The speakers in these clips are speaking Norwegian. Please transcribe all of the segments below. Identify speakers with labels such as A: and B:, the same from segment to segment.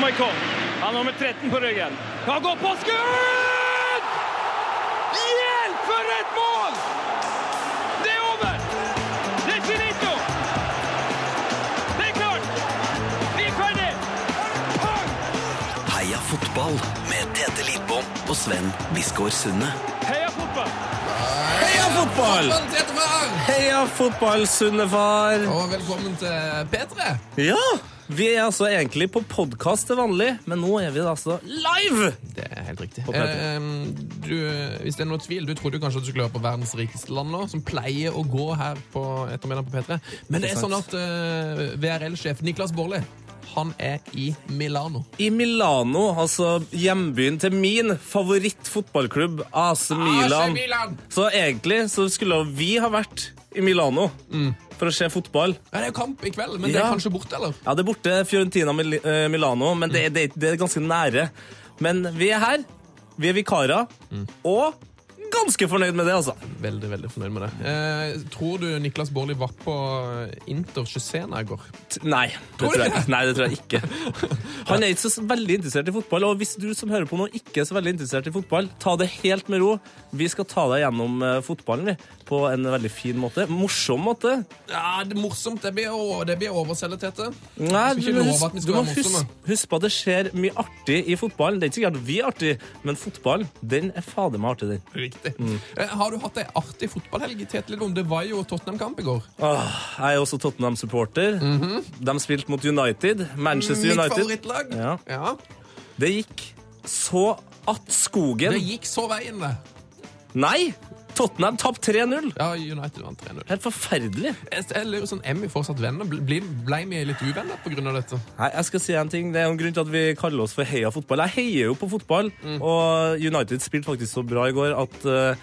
A: Kom. Han har nummer 13 på ryggen. Han går på skudd! Hjelp, for et mål! Det er over! Det er finito! Det er klart! Vi er ferdig!
B: Heia fotball med Tete Lidbom og Sven Biskår Sunde.
A: Heia fotball!
C: Heia fotball!
D: Velkommen til Etterfar!
C: Heia fotball, Sunnefar!
D: Og velkommen til P3.
C: Ja! Vi er altså egentlig på podkast til vanlig, men nå er vi da altså live!
D: Det er helt riktig.
C: P3.
D: Eh, du, hvis det er noe tvil, du trodde jo kanskje at du skulle høre på verdens rikeste land nå, som pleier å gå her på ettermiddagen på P3. Men det er sånn at eh, VRL-sjef Niklas Baarli, han er i Milano.
C: I Milano, altså hjembyen til min favorittfotballklubb, AC Milan.
D: Ah, Milan!
C: Så egentlig så skulle vi ha vært i Milano for å se fotball.
D: Ja, det er jo kamp i kveld, men det er
C: Ja.
D: kanskje borte, eller?
C: Ja, det er borte Fiorentina Mil eh, Milano, men det, det, det er ganske nære. Men vi er her. Vi er vikarer. Og ganske fornøyd med det, altså.
D: Veldig, veldig fornøyd med det. Eh, tror du Niklas Baarli var på Inter Cesena i går?
C: Nei, det
D: du
C: tror jeg, nei, det tror jeg ikke. Han er ikke så veldig interessert i fotball, og hvis du som hører på nå ikke er så veldig interessert i fotball, ta det helt med ro. Vi skal ta deg gjennom eh, fotballen vi, på en veldig fin måte. Morsom måte.
D: Ja, det er morsomt. Det blir, å- det blir overselget, Tete.
C: Nei,
D: skal
C: du,
D: ikke
C: må
D: love at vi skal
C: huske, du må
D: være morsomme.
C: huske, huske på at det skjer mye artig i fotballen. Det er ikke sikkert at vi er artig, men fotballen, den er fader meg artig, den.
D: Riktig.
C: Mm.
D: Eh, Har du hatt ei artig fotballhelg? Tete Lidbom? Det var jo Tottenham-kamp i går.
C: Åh, jeg er også Tottenham-supporter. De spilte mot United. Manchester
D: Mhm. Mitt
C: Altså, United.
D: favorittlag.
C: Ja. Det gikk så at skogen
D: Det gikk så veien, det.
C: Nei! Tottenham tapte 3-0.
D: Ja, United vant 3-0.
C: Helt forferdelig.
D: Jeg jeg lurer sånn, Er vi fortsatt venner? Ble, ble- ble vi litt uvenner pga. dette?
C: Nei, jeg skal si en ting. Det er jo en grunn til at vi kaller oss for heia fotball. Jeg heier jo på fotball, og United spilte faktisk så bra i går at eh,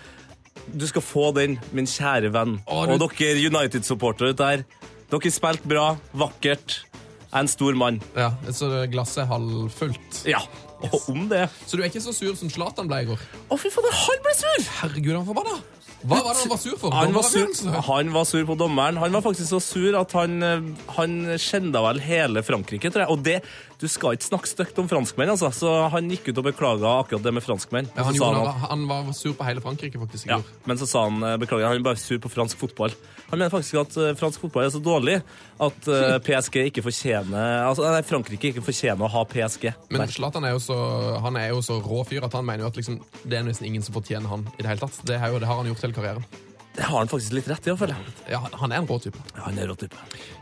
C: du skal få den, min kjære venn.
D: Å, du-
C: Og dere United-supportere der, dere spilte bra, vakkert. Jeg er en stor mann.
D: Ja, Så glasset er halvfullt.
C: Ja, og om det.
D: Så du er ikke så sur som Zlatan ble i går?
C: Å, fy fader, han ble sur!
D: Herregud, han forbanna! Hva var det han var sur for?
C: Han var sur,
D: Dommeravgjørelsen?
C: han var sur på dommeren. Han var faktisk så sur at han, eh, han skjenda vel hele Frankrike, tror jeg. Og det, du skal ikke snakke stygt om franskmenn, altså. Så han gikk ut og beklaga akkurat det med franskmenn.
D: Ja,
C: Og
D: han,
C: så sa
D: gjorde,
C: han at-
D: han, han var sur på hele Frankrike, faktisk. i
C: ja,
D: går.
C: men så sa han eh, beklager, han er bare sur på fransk fotball. Han mener faktisk at eh, fransk fotball er så dårlig at eh, PSG ikke fortjener Altså, nei, Frankrike ikke fortjener å ha PSG.
D: Men
C: Nei.
D: Zlatan er jo så, han er jo så rå fyr at han mener jo at liksom, det er nesten ingen som fortjener han i det hele tatt. Det, er jo, det har han gjort hele karrieren.
C: Det har han faktisk litt rett i, føler jeg.
D: Ja, han er en rå type.
C: Ja, han er rå type.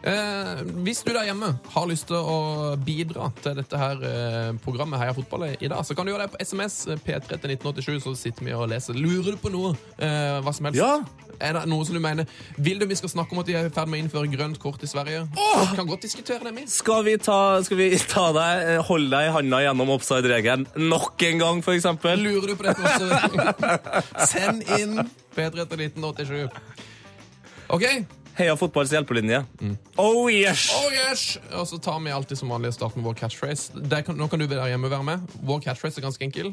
D: Eh, hvis du der hjemme har lyst til å bidra til dette her eh, programmet Heia fotball i dag, så kan du gjøre det på SMS eh, P3 til 1987, så sitter vi og leser. Lurer du på noe? Eh, hva som helst?
C: Ja.
D: Er det noe som du mener? Vil du vi skal snakke om at de er i ferd med å innføre grønt kort i Sverige? Vi kan godt diskutere det, vi.
C: Skal vi ta, skal vi ta deg, eh, holde deg i handa gjennom offside-regelen nok en gang, for eksempel?
D: Lurer du på dette også? Send inn P3 til 1987. OK.
C: Heia fotballs hjelpelinje.
D: Mm.
C: Oh yes!
D: Oh yes! Og så tar vi alltid som vanlig starten med vår catchphrase. Der kan, nå kan du der hjemme være med. Vår catchphrase er ganske enkel.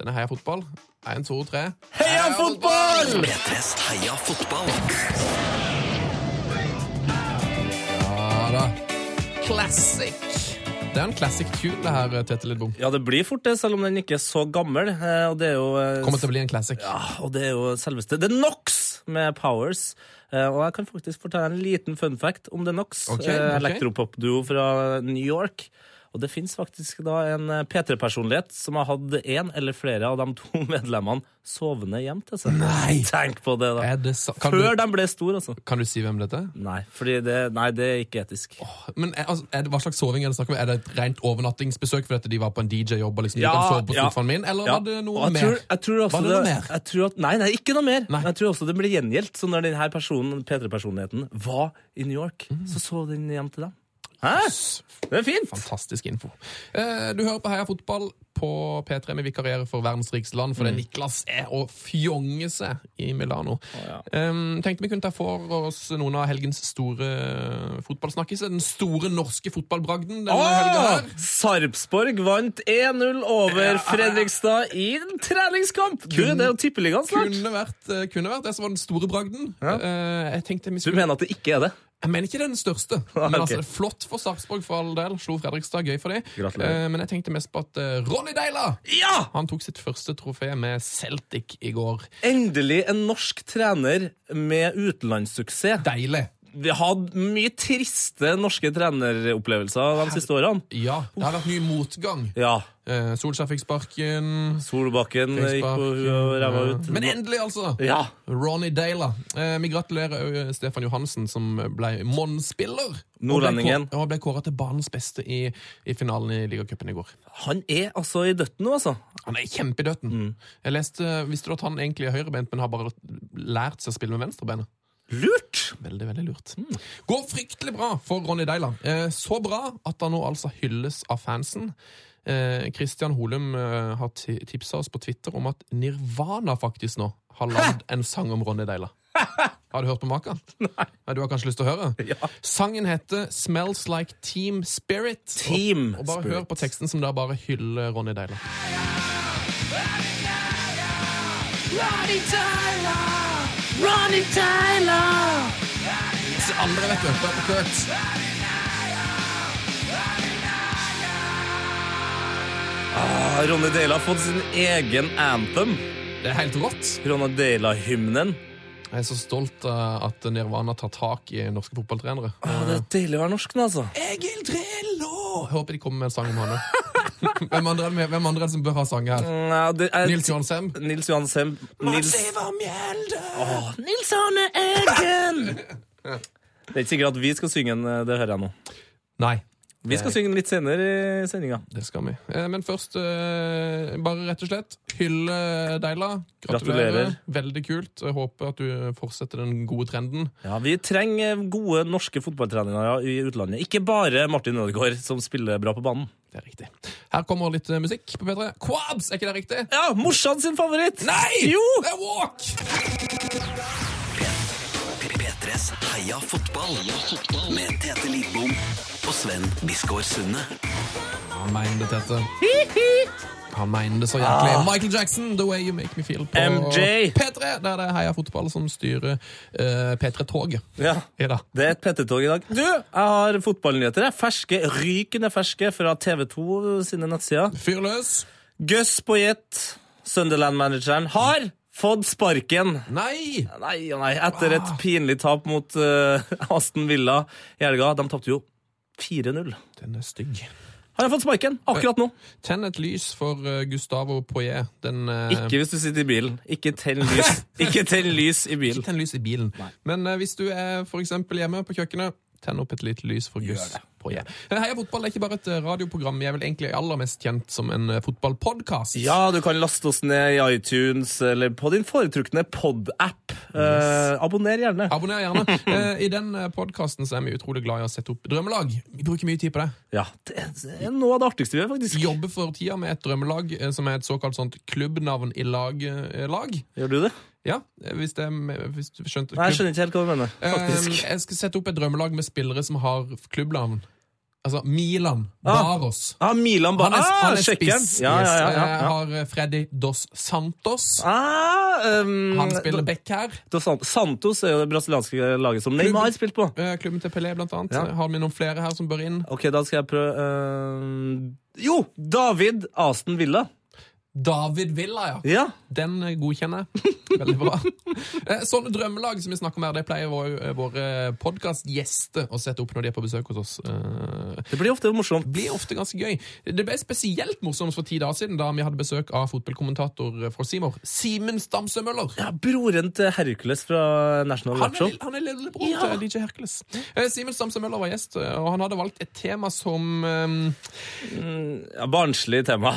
D: Den er heia fotball. Én, to, tre.
C: Heia fotball!
B: P3s Heia fotball.
D: Ja da. Classic. Det er en classic tune, det her, Tete Lidbom.
C: Ja, det blir fort det, selv om den ikke er så gammel. eh, Og det er jo, eh,
D: Kommer til å bli en classic.
C: Ah, og det er jo selveste The Knox med Powers. Eh, og jeg kan faktisk fortelle en liten fun fact om The Knox.
D: Ok,
C: eh,
D: ok.
C: Elektropopduo fra New York. Og det fins faktisk da en eh, P3-personlighet som har hatt én eller flere av de to medlemmene sovende hjem til seg. Nei! Tenk på det, da.
D: Er det sa kan,
C: Før
D: du,
C: de ble store, altså.
D: kan du si hvem dette er?
C: Nei, fordi det, nei, det er ikke etisk.
D: Men er, altså, er det, Hva slags soving er det snakk om? Er det et rent overnattingsbesøk fordi at de var på en DJ-jobb? og liksom, du
C: Ja,
D: kan sove på
C: ja.
D: sofaen min? Eller
C: Ja,
D: var det
C: og
D: noe
C: jeg
D: mer?
C: Tror, jeg tror også
D: Var det noe mer?
C: Jeg tror at, nei, nei, ikke noe mer.
D: Nei.
C: Men jeg tror også det ble gjengjeldt. Så når denne personen, P3-personligheten var i New York,
D: Mhm.
C: så så den hjem til dem. Hæ? Det er fint!
D: Fantastisk info. Eh, du hører på Heia fotball på P3. Vi vikarierer for verdens rikeste land fordi
C: Mm.
D: Niklas er å fjonge seg i Milano.
C: ja.
D: Em, tenkte vi kunne ta for oss noen av helgens store eh, fotballsnakkiser. Den store norske fotballbragden denne helga
C: Åh!
D: her.
C: Sarpsborg vant 1-0 over Fredrikstad i en treningskamp! Du, det er jo tippeligaen snart.
D: Kunne vært, eh, kunne vært det som var den store bragden. Eh, jeg tenkte vi
C: Du
D: skulle
C: mener at det ikke er det?
D: Jeg mener ikke det er den største, men
C: Ok.
D: altså, det er flott for Sarpsborg for all del. Slo Fredrikstad, gøy for dem.
C: Gratulerer.
D: men jeg tenkte mest på at eh, Ronny Deila
C: Ja!
D: han tok sitt første trofé med Celtic i går.
C: Endelig en norsk trener med utenlandssuksess.
D: Deilig.
C: Vi har hatt mye triste norske treneropplevelser de siste årene.
D: Ja, det har vært mye motgang.
C: Ja.
D: Eh, Solskjær fikk sparken.
C: Solbakken gikk på
D: sparken,
C: huet og ræva ut.
D: Men endelig, altså!
C: Ja.
D: Ronny Deila. Eh, vi gratulerer òg Stefan Johansen, som ble Monn-spiller.
C: Nordlendingen.
D: Og ble kåra til banens beste i, i finalen i ligacupen i går.
C: Han er altså i døtten nå, altså.
D: Han er kjempedøtten.
C: Mm.
D: Jeg leste, eh, Visste du at han egentlig er høyrebeint, men har bare lært seg å spille med venstrebeinet?
C: Lurt!
D: Veldig, veldig lurt. Mm. Går fryktelig bra for Ronny Deila. Eh, så bra at han nå altså hylles av fansen. Eh, Christian Holum eh, har ti- tipsa oss på Twitter om at Nirvana faktisk nå har lagd en sang om Ronny Deila. Har du hørt på maken? Nei. Du har kanskje lyst til å høre?
C: Ja.
D: Sangen heter 'Smells Like Team Spirit'.
C: Team
D: og, og bare
C: Spirit.
D: hør på teksten som da bare hyller Ronny Deila. Til andre, vet du. Hør på Kurt.
C: Ah, Ronny Deila har fått sin egen anthem.
D: Det er helt rått.
C: Ronny Deila-hymnen.
D: Jeg er så stolt av at Nirvana tar tak i norske fotballtrenere.
C: Ah, det er deilig å være norsk nå, altså.
D: Egil Trello! Jeg håper de kommer med en sang om han òg. hvem, andre er det med- hvem andre er det som bør ha sang her?
C: Nei, det er-
D: Nils Johan Sem?
C: Nils Johan Sem. Nils,
D: Ivar Mjelde!
C: Åh, Nils Arne Eggen! Det er ikke sikkert at vi skal synge den, det hører jeg nå.
D: Nei,
C: Vi skal synge den litt senere i sendinga.
D: det skal vi. Eh, Men først, eh, bare rett og slett, hylle Deila. Gratulerer.
C: Gratulerer.
D: Veldig kult. Jeg håper at du fortsetter den gode trenden.
C: Ja, vi trenger gode norske fotballtrenere i utlandet. Ikke bare Martin Ødegaard, som spiller bra på banen.
D: Det er riktig. Her kommer litt eh, musikk på P3. Quabs! Er ikke det riktig?
C: Ja, morsan sin favoritt!
D: Nei!
C: Jo!
D: Det er Walk!
B: P3s Heia fotball med Tete Lidbom og Sven Biskår Sunde.
D: Han mener det, Tete. Han mener det så jæklig.
C: Ah.
D: Michael Jackson, The Way You Make Me Feel på
C: MJ.
D: P3. Der det er Heia Fotball som styrer eh, P3-toget
C: Ja,
D: i dag.
C: det er et PT-tog i dag. Du, jeg har fotballnyheter. jeg. Ferske, rykende ferske fra TV2 sine nettsider.
D: Fyr løs.
C: Gus Boyett, Sunderland-manageren, har fått sparken.
D: Nei!
C: Nei, ja, nei, etter et pinlig tap mot eh, Aston Villa i helga. De tapte jo 4-0.
D: Den er stygg.
C: Har jeg fått sparken akkurat nå?
D: Tenn et lys for eh, Gustavo Poyet. Den eh,
C: Ikke hvis du sitter i bilen. Ikke tenn lys, ikke tenn lys i bilen.
D: ikke tenn lys i bilen. Men eh, hvis du er for eksempel hjemme på kjøkkenet, tenn opp et litt lys for Gus Poyet. Eh, Heia Fotball er ikke bare et eh, radioprogram. Jeg er vel egentlig aller mest kjent som en eh, fotballpodkast.
C: Ja, du kan laste oss ned i iTunes eller på din foretrukne pod-app. Eh, abonner gjerne.
D: Abonner gjerne. Eh, I den podkasten er vi utrolig glad i å sette opp drømmelag. Vi bruker mye tid på det.
C: Ja, Det er noe av det artigste vi gjør, faktisk.
D: Jobber for tida med et drømmelag eh, som er et såkalt sånt klubbnavn i lag. eh, lag.
C: Gjør du det?
D: Ja, eh, hvis, det, er med- hvis du skjønte
C: Nei, Jeg skjønner ikke helt hva du mener. faktisk.
D: Eh, jeg skal sette opp et drømmelag med spillere som har klubbnavn. Altså Milan
C: Ah.
D: Baros.
C: Ah, Milan ba
D: Han er,
C: ah,
D: han er
C: sjekkeren.
D: spiss.
C: Ja, ja,
D: yes.
C: ja, ja,
D: Eh,
C: ja.
D: Har eh, Freddy Dos Santos.
C: Ah, ehm,
D: Han spiller back her.
C: Dos Sant- Santos er jo det brasilianske laget som Neymar spilte på.
D: Eh, Klubben til Pelé, blant annet. Eh,
C: Ja.
D: Har vi noen flere her som bør inn?
C: Ok, da skal jeg prøve ehm, Jo! David Aston Villa.
D: David Villa, ja.
C: Ja.
D: Den eh, godkjenner jeg. Veldig bra. Eh, Sånne drømmelag som vi snakker om her, det pleier våre, våre podkastgjester å sette opp når de er på besøk hos oss. Eh,
C: Det blir ofte morsomt.
D: Det blir ofte ganske gøy. Det ble spesielt morsomt for ti dager siden, da vi hadde besøk av fotballkommentator for Seymour, Simen Stamsø Møller.
C: Ja, Broren til Hercules fra National
D: Han
C: Rap Show.
D: er, han er lillebror til DJ Hercules. Eh, Simen Stamsø Møller var gjest, eh, og han hadde valgt et tema som eh,
C: Ja, barnslig tema.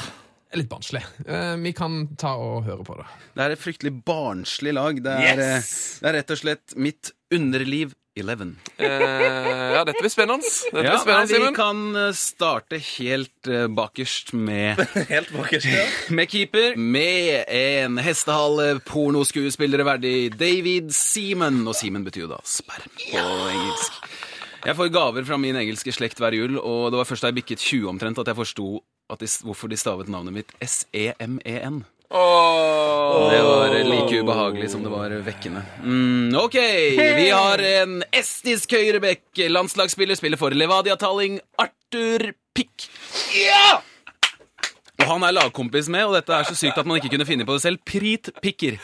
D: er litt barnslig. Eh, Vi kan ta og høre på det.
E: Det er et fryktelig barnslig lag. Det er,
C: Yes!
E: eh, det er rett og slett mitt underliv 11.
F: Eh,
D: ja, dette blir spennende. Dette
E: Ja, nei, vi kan eh, starte helt eh, bakerst med,
C: Helt bakerst, ja.
E: med keeper. Med en hestehale pornoskuespillere verdig David Seaman. Og Seaman betyr jo da sperm på engelsk. Jeg får gaver fra min engelske slekt hver jul, og E det var først da jeg bikket 20 omtrent at jeg forsto at de, hvorfor de stavet navnet mitt S-E-M-E-N. Det var like ubehagelig som det var vekkende. Mm, ok, vi har en estisk høyrebekk. Landslagsspiller spiller for Levadia Talling. Arthur Pick. Og han er lagkompis med, og dette er så sykt at man ikke kunne finne på det selv. Prit Picker.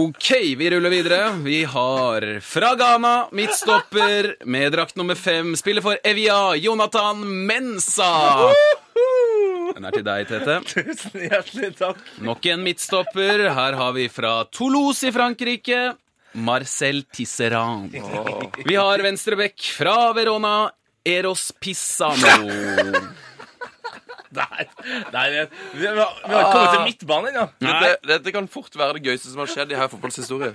E: Ok, vi ruller videre. Vi har fra Ghana, midtstopper med drakt nummer fem, spiller for Evia, Jonathan Mensa. Den er til deg, Tete.
C: Tusen hjertelig takk.
E: Nok en midtstopper. Her har vi fra Toulouse i Frankrike, Marcel Tisserand. Vi har venstrebekk fra Verona, Eros Pissano.
F: Nei,
C: Nei, vi, vi, vi har vi har ikke kommet til midtbanen ennå.
F: dette, dette kan fort være det gøyeste som har skjedd i her fotballhistorie.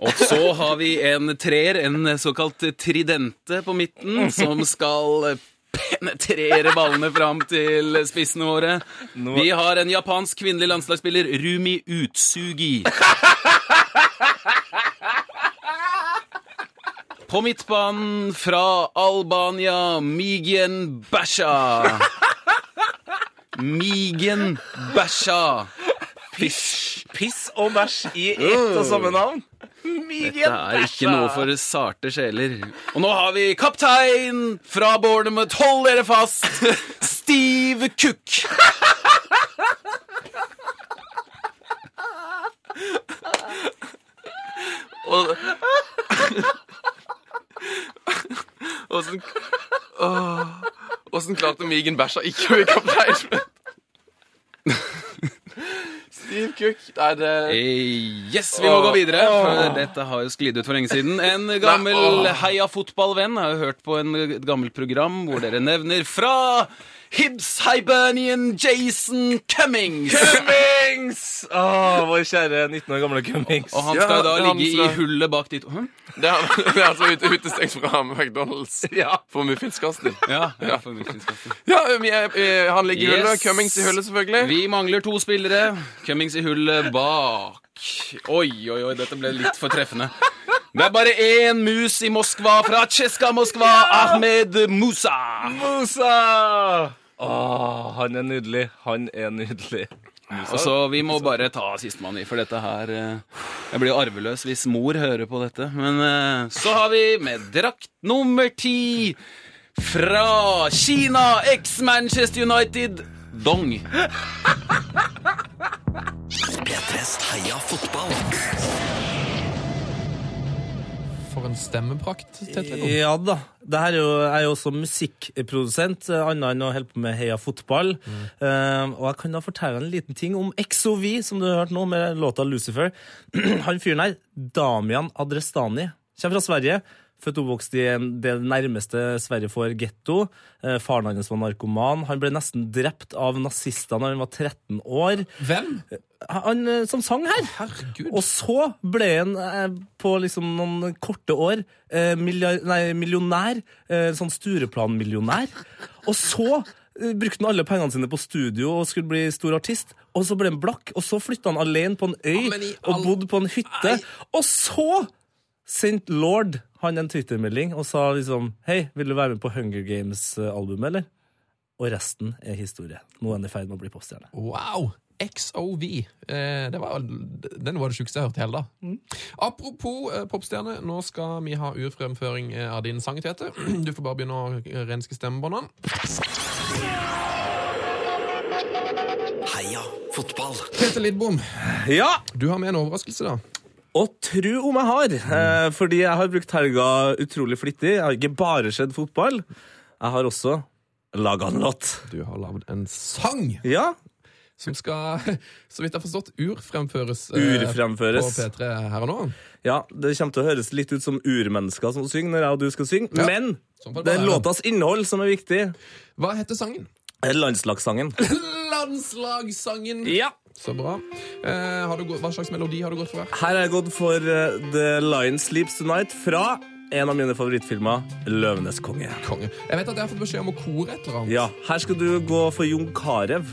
E: Og så har vi en treer, en såkalt tridente på midten, som skal penetrere ballene fram til spissene våre. Vi har en japansk kvinnelig landslagsspiller, Rumi Utsugi. På midtbanen fra Albania, Migen Basha. Migen Basha. Pish.
C: Piss og bæsj i ett og samme navn.
E: Det er ikke noe for sarte sjeler. Og nå har vi kaptein fra Bournemouth. Hold dere fast! Steve Cook.
F: Og Åssen Åh, Åssen klarte Migen Bæsja ikke å bli kaptein? Steve Cook Nei, det
E: Eh, Yes, vi må gå videre. For dette har jo sklidd ut for lenge siden. En gammel heia fotballvenn har jo hørt på en, et gammelt program hvor dere nevner fra Hibs Hibernian Jason Cummings.
C: Cummings! Å, vår kjære 19 år gamle Cummings.
E: Og han skal jo da
F: Ja, han
E: ligge i
F: skal-
E: hullet bak dit Hæ?
F: Det er, det er altså ute, utestengt fra McDonald's for muffinskasting.
E: Ja, ja, for mye skal-
F: Ja, vi er, eh, han ligger i
E: Yes.
F: hullet. Cummings i hullet, selvfølgelig.
E: Vi mangler to spillere. Cummings i hullet bak. Oi, oi, oi, dette ble litt for treffende. Det er bare én mus i Moskva fra Tsjeska Moskva, Ahmed Musa.
C: Musa! Å, han er nydelig. Han er nydelig.
E: Og så Vi må bare ta sistemann i, for dette her eh, Jeg blir jo arveløs hvis mor hører på dette. Men eh, så har vi med drakt nummer ti fra Kina, eks-Manchester United, Dong.
B: P3s Heia fotball.
D: For en stemmeprakt. Tete.
C: Ja da. Det her er jo, jeg er jo også musikkprodusent, eh, annet enn å holde på med Heia fotball. Eh, og jeg kan da fortelle en liten ting om XOV, som du har hørt nå, med låta Lucifer. Han fyren her, Damian Adrestani, kommer fra Sverige. Født og oppvokst i en- det nærmeste Sverige får getto. Eh, Faren hans var narkoman. Han ble nesten drept av nazister da han var 13 år.
D: Hvem?
C: Han eh, som sang her.
D: Herregud.
C: Og så ble han eh, på liksom noen korte år eh, milliard, nei, millionær. Eh, sånn Stureplan-millionær. Og så eh, brukte han alle pengene sine på studio og skulle bli stor artist. Og så ble han blakk, og så flytta han alene på en øy
D: Ja, men i all-
C: og bodde på en hytte. Og så sendte Lord han en twittermelding og sa liksom Hei, vil du være med på Hunger Games-albumet, eller? Og resten er historie. Nå er han i ferd med å bli popstjerne.
D: Wow! XOV. Eh, det var, den var det sjukeste jeg har hørt i hele dag. Apropos eh, popstjerne, nå skal vi ha urfremføring eh, av din sang, Tete. Du får bare begynne å eh, renske stemmebåndene.
B: Heia fotball.
D: Tete Lidbom,
C: Ja!
D: du har med en overraskelse, da.
C: Og tru om jeg har,
D: Mm.
C: eh, fordi jeg har brukt helga utrolig flittig. Jeg har ikke bare sett fotball. Jeg har også laga en låt.
D: Du har lagd en sang
C: Ja,
D: som skal, så vidt jeg har forstått, urfremføres eh,
C: urfremføres.
D: på P3 her og nå.
C: Ja, Det kommer til å høres litt ut som urmennesker som synger når jeg og du skal synge,
D: Ja.
C: men
D: Sånn får det
C: det er
D: være.
C: låtas innhold som er viktig.
D: Hva heter sangen?
C: Det er Landslagssangen.
D: Landslagssangen!
C: Ja.
D: Så bra. Eh, har du gått, hva slags melodi har du gått for her?
C: Her har jeg gått for eh, The Lion Sleeps Tonight fra en av mine favorittfilmer, Løvenes konge.
D: Konge. Jeg vet at jeg har fått beskjed om å kore et eller annet.
C: Ja, Her skal du gå for Jon Carew.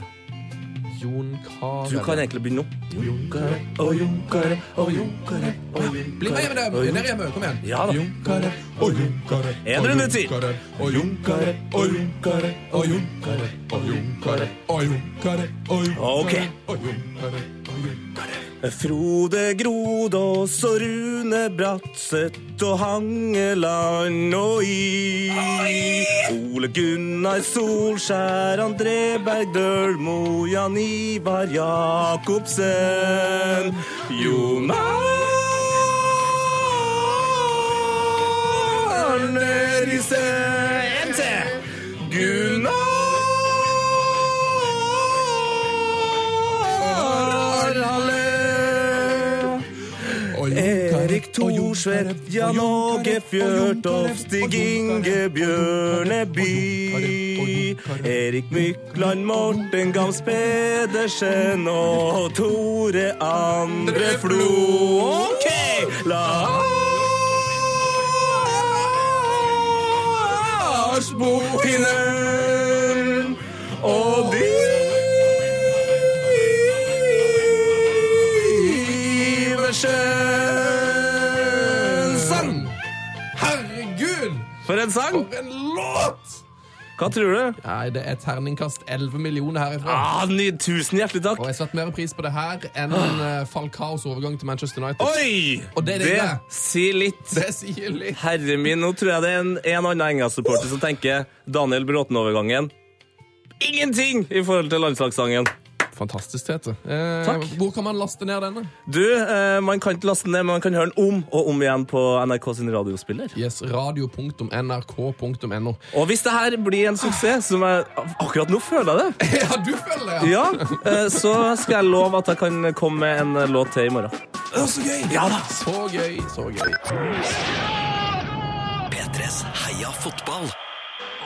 D: Jon Carew.
C: Du kan egentlig begynne nå. Junkere og junkere og junkere og
D: Bli med hjem
C: junkere
D: der der hjemme. Kom igjen.
C: Ja da.
D: Junkere og junkere
C: En runde til.
D: og junkere og junkere og junkere og junkere og junkere og junkere
C: Ok.
D: og junkere og junkere.
C: Frode Grodås og Rune Bratseth og Hangeland og I. Ole Gunnar Solskjær, André Berg Dølmo, Jan Ivar Jacobsen. Jonas Arne Riise. En til. Gunnar Arale.
D: Og junkere,
C: Erik
D: og junkere,
C: Thorsvedt,
D: og
C: Jan
D: junkere,
C: Åge
D: og junkere,
C: Fjørtoft,
D: og
C: Stig
D: junkere,
C: Inge
D: og
C: Bjørneby.
D: junkere, og junkere, og
C: Erik Mykland,
D: junkere,
C: Morten Gams Pedersen og Tore Andre Flo. OK! La Lars Bohinen og de Iversen. Sang!
D: Herregud,
C: For en sang!
D: for en låt!
C: Hva tror du?
D: Nei, det er terningkast 11 millioner herifra.
C: Ah, ny, tusen hjertelig takk.
D: Og jeg setter mer pris på det her enn uh, Falcaos overgang til Manchester United.
C: Ah. Oi!
D: Og det er det der.
C: sier litt.
D: Det sier litt.
C: Herre min, nå tror jeg det er en, en annen Enga-supporter som tenker Daniel Bråten-overgangen. Ingenting i forhold til landslagssangen.
D: Fantastisk, Tete. Eh,
C: Takk.
D: Hvor kan man laste ned denne?
C: Du, eh, man kan ikke laste den ned, men man kan høre den om og om igjen på NRK sin radiospiller.
D: Yes, radio.nrk.no.
C: Og hvis det her blir en suksess, som jeg akkurat nå føler jeg det,
D: Ja, du følger det!
C: ja, eh, så skal jeg love at jeg kan komme med en eh, låt til i morgen.
D: Å, så gøy!
C: Ja da!
D: Så gøy, så gøy.
B: P3s Heia fotball.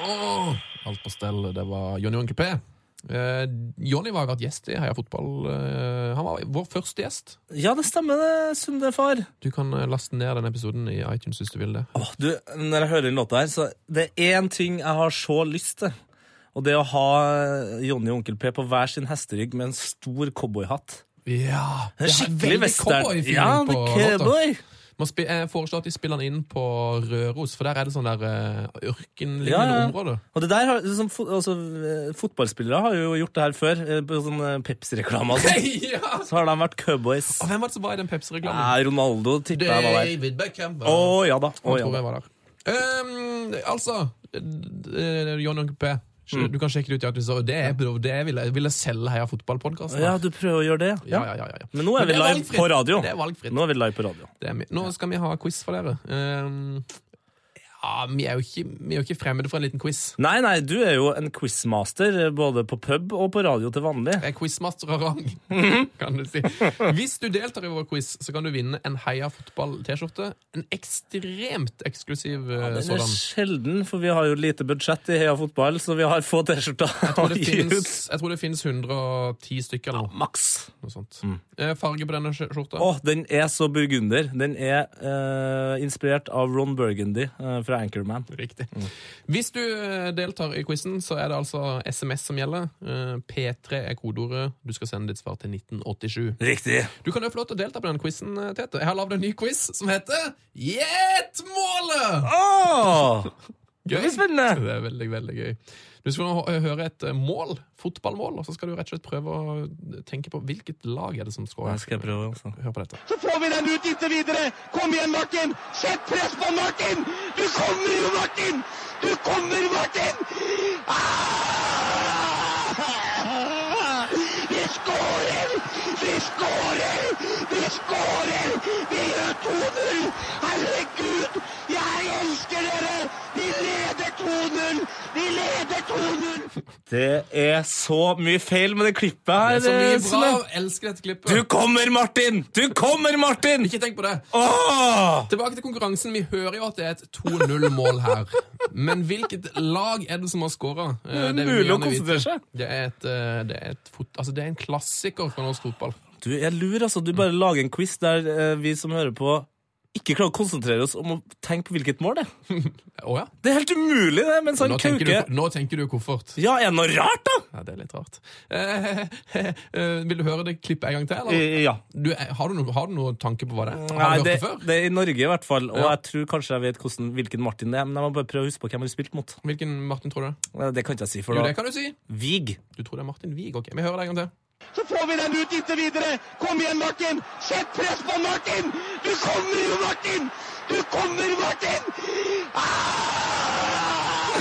D: Åh, alt på stell. Det var Jonny og Onkel P. Eh, Jonny var jo vært gjest i Heia Fotball. Eh, han var vår første gjest.
C: Ja, det stemmer det, Sunde far.
D: Du kan eh, laste ned den episoden i iTunes hvis du vil det.
C: Åh, du, når jeg hører den låta her, så det er én ting jeg har så lyst til. Og det er å ha Jonny og Onkel P på hver sin hesterygg med en stor cowboyhatt.
D: Ja!
C: Det er skikkelig western. Ja,
D: Ja,
C: det er cowboy.
D: Man spi- jeg foreslår at de spiller den inn på Røros, for der er det sånn der eh, ørkenlignende
C: Ja, ja.
D: område.
C: Og det der har, liksom, fo- altså, eh, Fotballspillere har jo gjort det her før, eh, på sånne Pepsi-reklamer. og sånt.
D: ja!
C: Så har de vært cowboys.
D: Og hvem var det som var i den Pepsi-reklamen?
C: Nei, Ronaldo tipper jeg var der.
D: Beckham.
C: Å
D: Og
C: ja da. å,
D: han
C: ja
D: tror
C: da.
D: jeg var der. Ehm, altså uh, John Onkel P. Du kan sjekke det ut i iTunes. og Det, er- det vil, jeg, vil jeg selge Heia Fotball-podkasten.
C: Ja, du prøver å gjøre det,
D: ja, ja, ja, ja.
C: Men nå er vi
D: det
C: live
D: valgfritt.
C: på radio.
D: Det er valgfritt.
C: Nå er vi live på radio.
D: Det er mi- Nå skal vi ha quiz for dere. Ehm, ja, vi er, jo ikke, vi er jo ikke fremmede for en liten quiz.
C: Nei, nei, du er jo en quizmaster, eh, både på pub og på radio til vanlig.
D: Jeg er quizmaster av rang, kan du si. Hvis du deltar i vår quiz, så kan du vinne en Heia Fotball-T-skjorte. En ekstremt eksklusiv eh,
C: Det er
D: sådan.
C: sjelden, for vi har jo lite budsjett i Heia Fotball, så vi har få T-skjorter
D: Og
C: å
D: det
C: gi
D: finnes,
C: ut.
D: jeg tror det finnes 110 stykker eller noe.
C: Maks.
D: noe sånt. Eh, Farge på denne skj- skjorta?
C: Å, den er så burgunder. Den er eh, inspirert av Ron Burgundy eh, fra Anchorman.
D: Riktig.
C: Mm.
D: Hvis du eh, deltar i quizen, så er det altså SMS som gjelder. Eh, P3 er kodeordet. Du skal sende ditt svar til 1987.
C: Riktig.
D: Du kan jo få lov til å delta på den quizen, eh, Tete. Jeg har lagd en ny quiz som heter Gjett målet!
C: Åh!
D: Gøy.
C: blir spennende.
D: Det er veldig, veldig gøy. Du skal nå hø- høre et eh, mål, fotballmål, og så skal du rett og slett prøve å tenke på hvilket lag er det som scorer.
C: Nå skal jeg prøve, altså.
D: Hør på dette.
G: så får vi den ut inntil videre. Kom igjen, Martin! Sett press på Martin! Du kommer jo, Martin! Du kommer, Martin! Ah! Vi skårer! Vi skårer! Vi skårer! Vi gjør 2-0! Herregud, jeg elsker dere! Vi leder 2-0! Vi leder 2-0!
C: Det er så mye feil med det klippet her.
D: Det er så mye
C: Sunne.
D: bra. Elsker dette klippet.
C: Du kommer, Martin! Du kommer, Martin!
D: Ikke tenk på det.
C: Åh!
D: Tilbake til konkurransen. Vi hører jo at det er et 2-0-mål her. Men hvilket lag er det som har skåra? Det vil vi
C: Mulig å
D: gjerne vite.
C: konsentrere seg.
D: Det er, et, eh, det, er et fot altså, det er en klassiker fra norsk fotball.
C: Du, jeg lurer altså. Du bare lager en quiz der eh, vi som hører på ikke klarer å konsentrere oss om å tenke på hvilket mål det er.
D: Å ja.
C: Det er helt umulig, det, mens han
D: Nå tenker,
C: Kauke
D: du, nå tenker du koffert.
C: Ja, er det noe rart, da?
D: Ja, det er litt rart. Eh, eh, vil du høre det klippet en gang til? Eller?
C: Eh, Ja.
D: Du, eh, har, du noe, har du noe tanke på hva det er?
C: Nei,
D: Har du hørt
C: det,
D: det før?
C: det er i Norge, i hvert fall. Og
D: Ja.
C: jeg tror kanskje jeg vet hvordan, hvilken Martin det er. Men jeg må bare prøve å huske på hvem han spilte mot.
D: Hvilken Martin tror du det er?
C: Eh, Det kan ikke jeg si, for
D: Jo,
C: da
D: det kan du si.
C: Vig.
D: Du tror det er Martin Wiig. Ok, vi hører det en gang til.
G: Så får vi den ut inntil videre. Kom igjen, Martin! Sett press på Martin! Du kommer jo, Martin! Du kommer, Martin!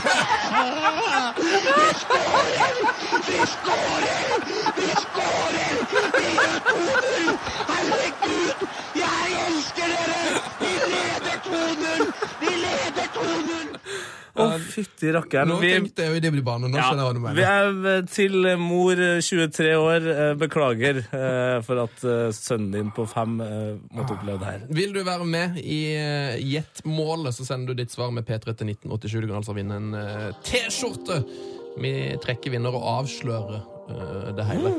G: Ah! Vi skårer! Vi skårer! Vi skårer! Vi gjør 2-0! Herregud! Jeg elsker dere! Vi leder 2-0! Vi leder 2-0!
C: Å, fytti rakkeren.
D: Nå
C: Vi,
D: tenkte jeg jo i Dibdibane. Nå skjønner jeg hva du
C: ja, vi
D: mener.
C: er eh, til mor eh, 23 år. eh, Beklager eh, for at eh, sønnen din på fem eh, måtte oppleve det her.
D: Vil du være med i eh, Gjett-målet, så sender du ditt svar med P3 til 1987. Du kan altså vinne en eh, T-skjorte. Vi trekker vinner og avslører eh, det hele.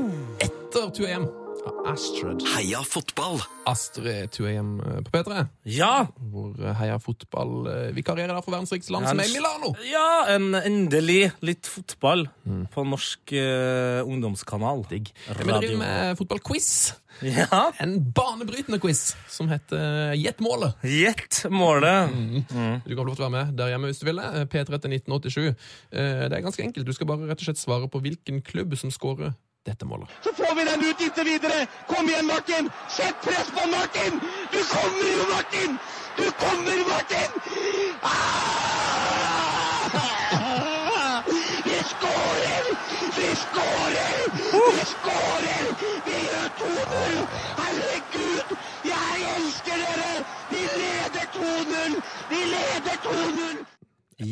D: Etter 2AM av Astrid.
B: Heia fotball!
D: Astrid 2AM på P3,
C: Ja!
D: hvor eh, Heia Fotball eh, vikarierer der for verdens rikeste land,
C: Ja,
D: som
C: men-
D: er Milano.
C: Ja, en endelig litt fotball på norsk eh, ungdomskanal. Digg.
D: Vi driver med fotballquiz.
C: Ja.
D: En banebrytende quiz som heter eh, Gjett målet.
C: Gjett målet.
D: Du kan få lov til å være med der hjemme hvis du vil. eh, P3 til 1987. Eh, Det er ganske enkelt. Du skal bare rett og slett svare på hvilken klubb som scorer dette målet.
G: Så får vi den ut inntil videre. Kom igjen, Martin! Sett press på Martin! Du kommer jo, Martin! Du kommer, Martin! Ah! Vi skårer! Vi skårer! Vi skårer! Vi gjør 2-0! Herregud, jeg elsker dere! Vi leder 2-0! Vi leder 2-0!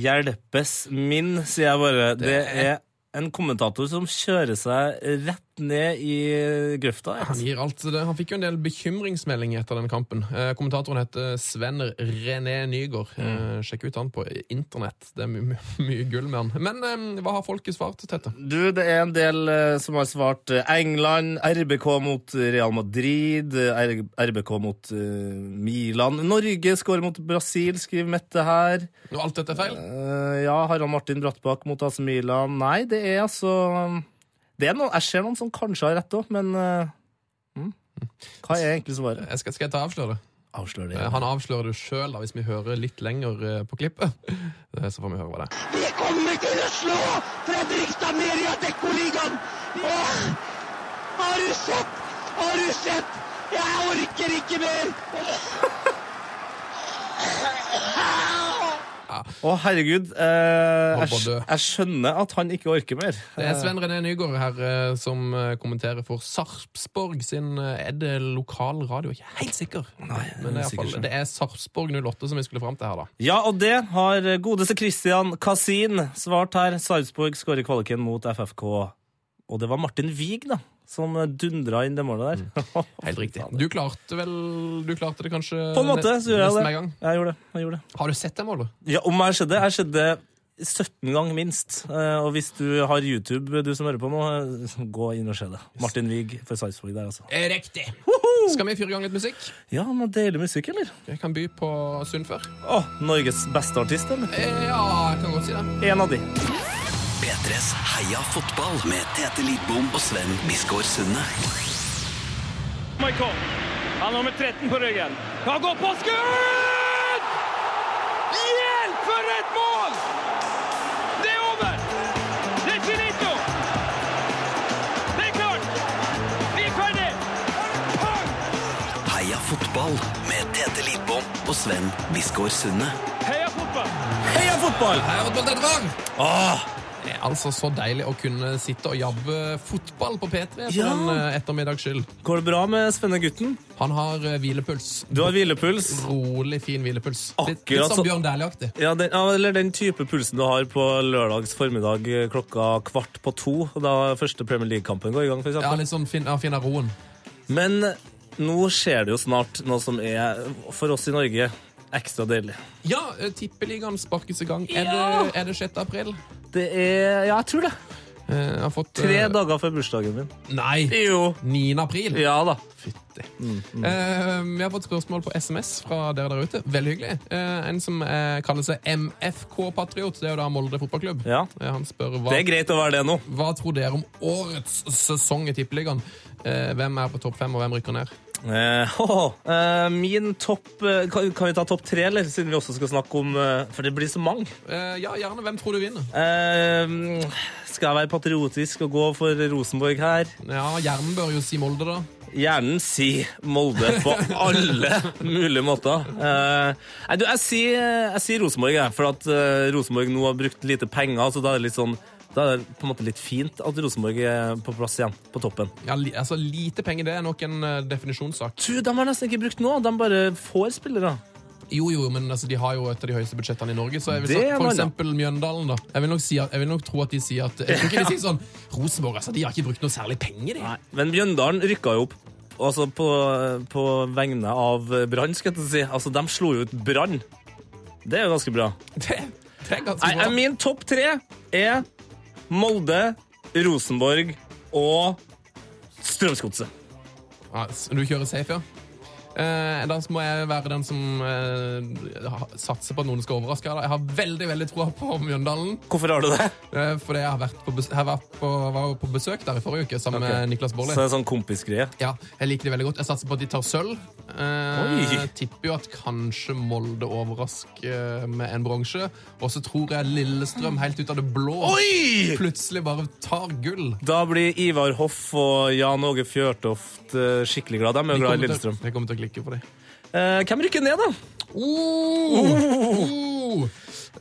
C: Hjelpes min, sier jeg bare. Det er en kommentator som kjører seg rett ned i eh, grøfta.
D: Han
C: jeg.
D: gir alt til det. Han fikk jo en del bekymringsmeldinger etter den kampen. Eh, Kommentatoren heter Sven René Nygård. Eh, Sjekk ut han på internett. Det er my my mye gull med han. Men eh, hva har folket svart, Tette?
C: Du, det er en del eh, som har svart eh, England, RBK mot eh, Real Madrid, eh, R- RBK mot eh, Milan. Norge skårer mot Brasil, skriver Mette her.
D: Når alt dette er feil?
C: Eh, ja, Harald Martin Brattbakk mot AC Milan. Nei, det er altså det er noen, Jeg ser noen som kanskje har rett òg, men eh, mm. Hva er egentlig svaret?
D: Jeg skal, skal jeg ta avsløre det?
C: Avslør det.
D: Eh, Han avslører det sjøl hvis vi hører litt lenger eh, på klippet. Eh, Så får vi høre hva det er.
G: Vi kommer til å slå Fredrikstad ned i Adeccoligaen! Åh! Har du sett? Har du sett? Jeg orker ikke mer!
C: Å, herregud. eh,
D: Holdt
C: jeg,
D: på å dø.
C: skj- jeg skjønner at han ikke orker mer.
D: Det er Sven René Nygård her eh, som eh, kommenterer for Sarpsborg sin eh, Er det lokal radio? Jeg er ikke helt sikker. Nei, Men det er, i hvert fall, det er Sarpsborg 08 som vi skulle fram til her, da.
C: Ja, og det har godeste Christian Kasin svart her. Sarpsborg skårer kvaliken mot FFK. Og det var Martin Wiig, da, som dundra inn det målet der.
D: Helt riktig. Du klarte vel Du klarte det kanskje
C: På en måte
D: nest-
C: så gjorde
D: nesten
C: jeg
D: hver
C: det.
D: gang.
C: Jeg gjorde det. Jeg gjorde det.
D: Har du sett det målet?
C: Ja, om jeg skjedde? Jeg skjedde 17 ganger minst. Eh, Og hvis du har YouTube, du som hører på nå, eh, gå inn og se det. Martin Wiig for Sarpsborg der, altså.
D: Eh, Riktig. Skal vi fyre i gang litt musikk?
C: Ja, men deilig musikk, eller?
D: Jeg kan by på Sundfør.
C: Å, Norges beste artist, eller?
D: Eh, Ja, jeg kan godt si det.
C: En av de.
B: P3s Heia fotball med Tete Lidbom og Sven Biskår Sunde.
A: Michael. Han har med 13 på ryggen. Han går på skudd! Hjelp for et mål! Det er over! Det er finito! Det er klart! Vi er ferdig!
B: Heia fotball med Tete Lidbom og Sven Biskår Sunde.
A: Heia fotball!
C: Heia fotball! Ah,
D: Her har vi fått dette var.
C: Åh,
D: Det er altså så deilig å kunne sitte og jabbe fotball på P3 for
C: Ja.
D: en eh, ettermiddags skyld.
C: går det bra med spenne gutten?
D: Han har eh, hvilepuls.
C: Du har hvilepuls.
D: Rolig, fin hvilepuls. Litt,
C: Akkurat
D: litt som
C: så-
D: Bjørn Dæhlie-aktig.
C: Ja, den, ja, eller den type pulsen du har på lørdags formiddag eh, klokka kvart på to, da første Premier League-kampen går i gang, for
D: Ja,
C: eksempel.
D: litt sånn fin, ja, finne roen.
C: Men eh, nå skjer det jo snart noe som er, for oss i Norge, ekstra deilig.
D: Ja, eh, Tippeligaen sparkes i gang. Er, det, er det 6. april?
C: Det er Ja, jeg tror det.
D: Eh, Jeg har fått eh,
C: Tre dager før bursdagen min.
D: Nei!
C: Jo.
D: 9. april.
C: Ja da.
D: Fytti. Eh, vi har fått spørsmål på SMS fra dere der ute. Veldig hyggelig. Eh, en som eh, kaller seg MFK-patriot. Det er jo da Molde fotballklubb.
C: Ja.
D: Eh, han spør hva,
C: Det er greit å være det nå.
D: hva tror dere om årets sesong i Tippeligaen. Eh, hvem er på topp fem, og hvem rykker ned?
C: Eh, haha. Eh, min topp eh, kan, kan vi ta topp tre, eller? Siden vi også skal snakke om eh, For det blir så mange.
D: Eh, ja, gjerne. Hvem tror du vinner?
C: Eh, skal jeg være patriotisk og gå for Rosenborg her?
D: Ja, Hjernen bør jo si Molde, da.
C: Hjernen sier Molde på alle mulige måter. Eh, nei, du, jeg sier, jeg sier Rosenborg, jeg, for at eh, Rosenborg nå har brukt lite penger. Så da er det litt sånn da er det på en måte litt fint at Rosenborg er på plass igjen, på toppen.
D: Ja, li, altså, Lite penger, det er nok en eh, definisjonssak.
C: Du, De har nesten ikke brukt noe. De bare får spillere.
D: Jo, jo, men altså, de har jo et av de høyeste budsjettene i Norge. Så jeg vil
C: Det
D: si,
C: er
D: for
C: noe, ja.
D: eksempel Mjøndalen, da. Jeg vil nok, si at, jeg vil nok tro at de sier at Jeg tror ikke de sier sånn Rosenborg, altså, de har ikke brukt noe særlig penger, de.
C: Men Mjøndalen rykka jo opp. Altså på, på vegne av Brann, skal jeg til å si. Altså, de slo jo ut Brann. Det er jo ganske bra.
D: Det, det er ganske
C: Nei,
D: bra.
C: eh, min topp tre er Molde, Rosenborg og Strømsgodset.
D: Ja, s- du kjører safe, ja? Eh, da må jeg være den som eh, ha- satser på at noen skal overraske. her, Da. Jeg har veldig veldig troa på Mjøndalen.
C: Hvorfor har du det?
D: eh, fordi jeg har vært på, bes jeg var på, var jo på besøk der i forrige uke sammen
C: Ok.
D: med Niklas
C: Så
D: Baarli.
C: det er sånn kompisgreie.
D: Ja, jeg liker det veldig godt. Jeg satser på at de tar sølv. Eh,
C: Oi.
D: tipper jo at kanskje Molde overrasker eh, med en bronse. Og så tror jeg Lillestrøm helt ut av det blå plutselig bare tar gull.
C: Da blir Ivar Hoff og Jan Åge Fjørtoft eh, skikkelig glad. De er jo glad i
D: kommer til,
C: Lillestrøm.
D: jeg kommer til å klikke på dem.
C: Eh, hvem rykker ned, da?
D: Oh!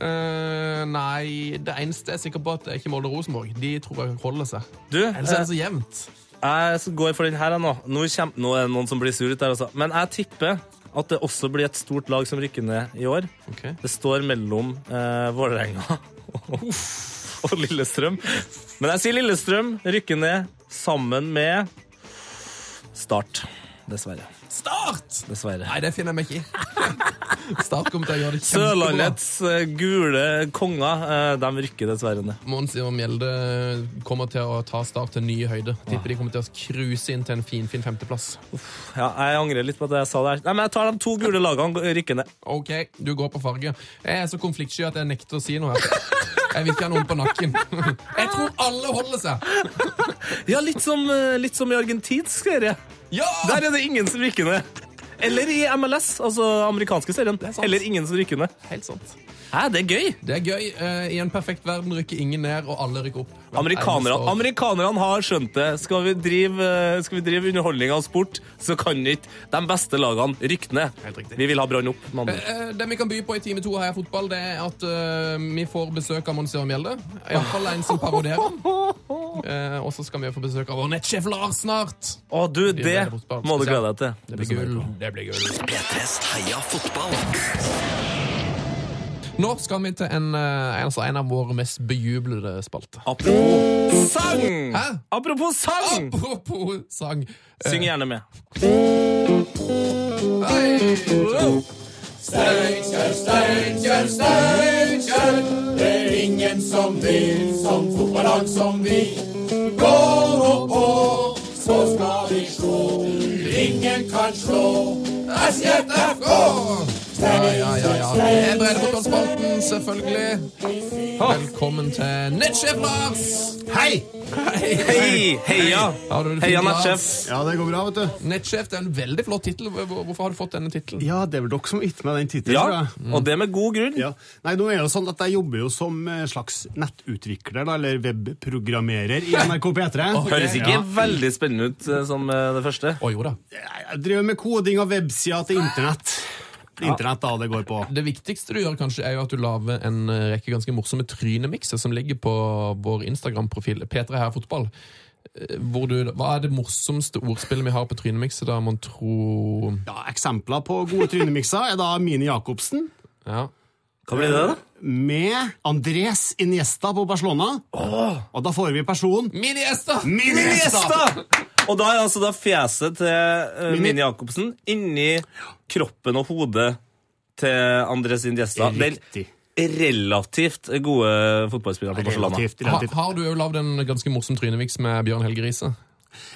D: Eh, nei, det eneste jeg er sikker på, at det er ikke Molde og Rosenborg. De tror jeg holder seg.
C: Du,
D: Ellers er
C: eh,
D: det så jevnt.
C: jeg går for den her jeg, nå. Nå, kjem, nå er det noen som blir sur ut der, altså. Men jeg tipper at det også blir et stort lag som rykker ned i år.
D: Ok.
C: Det står mellom eh, Vålerenga og, og Lillestrøm. Men jeg sier Lillestrøm rykker ned sammen med Start. Dessverre.
D: Start!
C: Dessverre.
D: Nei, det finner jeg meg ikke i. Start kommer til å gjøre det kjempebra.
C: Sørlandets eh, gule konger, eh, de rykker dessverre ned.
D: Mons Ivar Mjelde kommer til å ta Start til nye høyder. Tipper de kommer til å cruise inn til en finfin fin femteplass.
C: Ja, jeg angrer litt på det jeg sa der. Nei, men jeg tar de to gule lagene og rykker ned.
D: OK, du går på farge. Jeg er så konfliktsky at jeg nekter å si noe. her. Jeg vil ikke ha noen på nakken. Jeg tror alle holder seg!
C: Ja, litt som, eh, litt som i argentinsk serie.
D: Ja!
C: Der er det ingen som rykker ned. Eller i MLS, altså amerikanske serien.
D: sant.
C: Eller ingen som rykker ned.
D: Helt sant.
C: Hæ, det er gøy!
D: Det er gøy. Eh, I en perfekt verden rykker ingen ned, og alle rykker opp. Hvert
C: Amerikanerne,
D: eneste år.
C: amerikanerne har skjønt det. Skal vi drive, eh, skal vi drive underholdning av sport, så kan ikke de beste lagene rykke ned.
D: Helt riktig.
C: Vi vil ha Brann opp. med andre ord.
D: Eh, Det vi kan by på i time to her i fotball, det er at eh, vi får besøk av Monsieur Mjelde. Iallfall en som parodierer. Eh, og så skal vi få besøk av vår nettsjef Lars snart.
C: Å, du, det
D: veldig fotball.
C: må du glede deg til.
D: Det blir gull. Det blir gull.
B: P3s Heia fotball.
D: Nå skal vi til en, eh, altså en av våre mest bejublede spalter.
C: Apropos sang!
D: Hæ?
C: Apropos
D: Mm.
C: sang!
D: Apropos sang. Eh,
C: Syng gjerne med.
D: hei! Steinkjer, Steinkjer, Steinkjer. Det er ingen som vil som fotballag som vi. Gå nå på, så skal vi slå. Ingen kan slå SJFK. Ja, ja, ja, ja. Det er Breddefotballspalten, selvfølgelig. Velkommen til Nettsjef Lars.
H: Hei!
C: Hei! Heia!
D: Har du det
C: Heia,
D: fint,
C: nettsjef.
H: Ja, det går bra, vet du.
D: Nettsjef det er en veldig flott tittel. Hvor- Hvorfor har du fått denne tittelen?
H: Ja, det er vel dere som har gitt meg den tittelen, tror
C: Ja,
H: jeg.
C: og det med god grunn.
H: Ja. Nei, nå er det jo sånn at jeg jobber jo som eh, slags nettutvikler, da, eller webprogrammerer i NRK P3.
C: Høres ikke
H: Ja.
C: veldig spennende ut eh, som eh, det første.
D: Å jo da.
H: Jeg driver med koding av websider til internett. Internett, da, det går på.
D: Det viktigste du gjør, kanskje, er jo at du lager en eh, rekke ganske morsomme trynemikser som ligger på vår Instagram-profil P3 her fotball. Eh, Hvor du, hva er det morsomste ordspillet vi har på trynemikset, da, mon tro?
H: Ja, eksempler på gode trynemikser er da Mini Jacobsen
D: Ja.
C: Hva blir det, da?
H: med Andres Iniesta på Barcelona. Og da får vi personen
D: Mini-Esta!
H: Mini Iniesta!
C: Gjesta! Og da er altså da fjeset til eh,
H: Mini-
C: Mini Jacobsen inni kroppen og hodet til Andres Indiesta. Det
H: Riktig.
C: er relativt gode fotballspillere på Barcelona.
H: Relativt,
D: Ha,
H: relativt.
D: har du jo lagd en ganske morsom tryneviks med Bjørn Helge Riise?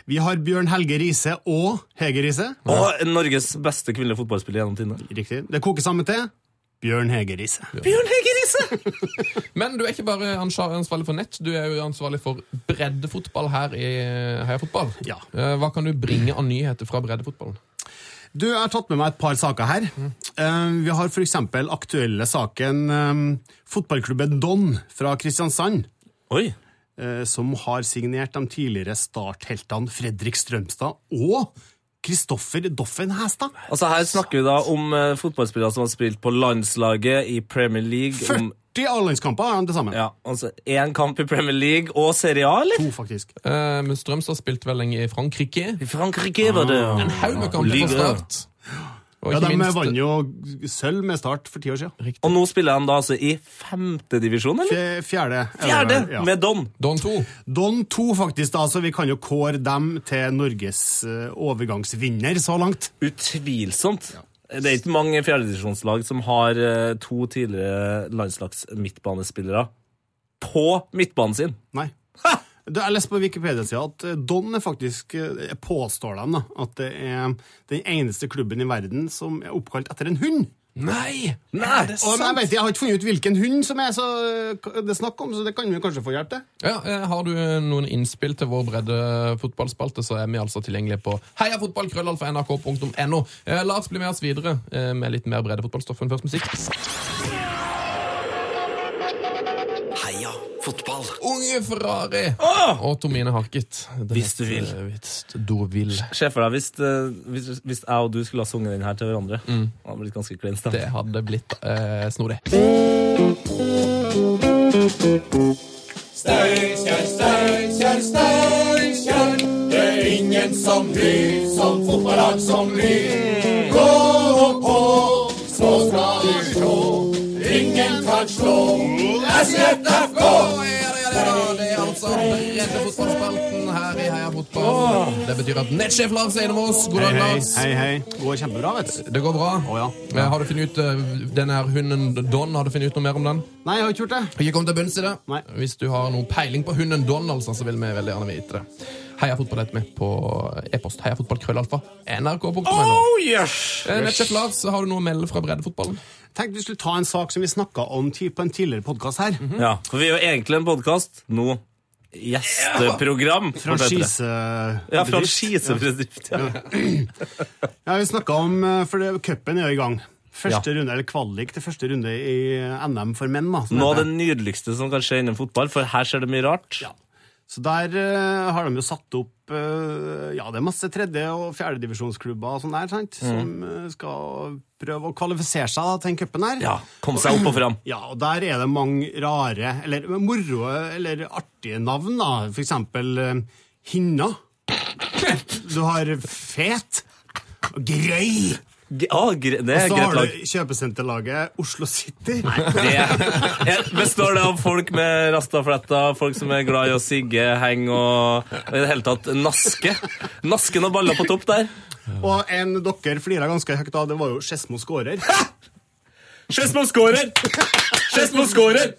H: Vi har Bjørn Helge Riise og Hege Riise.
C: Og Norges beste kvinnelige fotballspiller gjennom tidene.
H: Riktig. Det koker sammen til Bjørn Hege Riise.
C: Bjørn Hege Riise!
D: Men du er ikke bare ansa- ansvarlig for nett, du er jo ansvarlig for breddefotball her i Heia Fotball.
H: Ja.
D: Eh, Hva kan du bringe av nyheter fra breddefotballen?
H: Du, jeg har tatt med meg et par saker her. Eh, Vi har for eksempel aktuelle saken eh, fotballklubben Don fra Kristiansand,
C: Oi.
H: eh, som har signert de tidligere startheltene Fredrik Strømstad og Kristoffer Doffen Hæstad.
C: Altså Her snakker vi da om eh, fotballspillere som har spilt på landslaget, i Premier League om,
H: 40 A-landskamper har han til sammen.
C: ja, altså Én kamp i Premier League og Serie A, eller?
H: To, faktisk.
D: Eh, Men Strømstad spilte vel lenge i Frankrike.
C: I Frankrike var det
D: En haug med kamper for
C: Liga.
D: Start. Og
H: Ja,
D: ikke
H: De
D: minst-
H: vant jo sølv med Start for ti år siden.
C: Og nå spiller de da altså i femtedivisjon, eller?
H: Fj- Fjerde. er det
C: Fjerde!
H: vel, ja.
C: Med Don.
D: Don 2.
H: Don 2, faktisk, da, så vi kan jo kåre dem til Norges eh, overgangsvinner så langt.
C: Utvilsomt. Det er ikke mange fjerdedivisjonslag som har eh, to tidligere landslags-midtbanespillere på midtbanen sin.
H: Nei. Du, jeg leste på Wikipedia-sida at eh, Don er faktisk eh, påstår dem da, at det er den eneste klubben i verden som er oppkalt etter en hund.
D: Nei!
C: Nei!
H: Og jeg, vet, jeg har ikke funnet ut hvilken hund som er så eh, det er snakk om, så det kan vi kanskje få hjelp til.
D: Ja, eh, har du noen innspill til vår bredde fotballspalte, så er vi altså tilgjengelige på heiafotballkrøllalfa.nrk.no. Eh, La oss bli med oss videre eh, med litt mer breddefotballstoff enn først musikk.
B: Heia fotball.
D: Unge Ferrari og Tomine Harket. Det
C: Hvis du
D: heter,
C: vil.
D: eh, Hvis du vil.
C: Se for deg hvis, eh, hvis, hvis jeg og du skulle ha sunget den her til hverandre. Mm. Det hadde blitt ganske kleint.
D: Det hadde blitt eh, snodig. Det er altså breddefotballspalten her i Heia Fotball. Det betyr at nettsjef Lars Einemås, god dag, Lars.
H: hei, hei. Går kjempebra, vet du.
D: Det går bra.
H: ja.
D: Eh, Har du funnet ut eh, den her hunden Don? Har du funnet ut noe mer om den?
H: Nei, jeg har ikke gjort det.
D: Ikke kom til bunns i det.
H: Nei.
D: Hvis du har noe peiling på hunden Don, altså, så vil vi veldig gjerne vite det. Heia fotball heter vi på e-post. Heia fotball krøllalfa nrk.no. Oh, yes! Nettsjef Lars, har du noe å melde fra breddefotballen?
H: Tenkte vi skulle ta en sak som vi snakka om ti- på en tidligere podkast her.
C: Mhm. Ja, for vi er jo egentlig en podkast. Nå gjesteprogram.
H: Franchise...
C: Ja, franchisebedrift. Ja.
H: Ja, vi snakket om, eh, for det- cupen er jo i gang. Første runde, eller kvalik til første runde i NM for menn. Da, som
C: Noe av
H: heter.
C: det nydeligste som kan skje innen fotball, for her skjer det mye rart.
H: Så der eh, har de jo satt opp eh, Ja, det er masse tredje- og fjerdedivisjonsklubber og sånn der,
C: Mm.
H: sant? Som eh, skal prøve å kvalifisere seg da, til den cupen her.
C: Ja, Kom seg opp og fram.
H: Ja, og der er det mange rare, eller moro, eller artige navn, da. For eksempel eh, Hinna. Du har Fet. og Grøy.
C: G- ah, gre det er
H: Så
C: greit
H: har
C: lag.
H: du kjøpesenterlaget Oslo City.
C: Det er- består det av folk med rastafletter, folk som er glad i å sigge, henge og og i det hele tatt naske. Naske noen baller på topp der.
H: Og en dere flira ganske høyt av, det var jo Skedsmo Skårer.
C: Skedsmo skårer! Skedsmo skårer!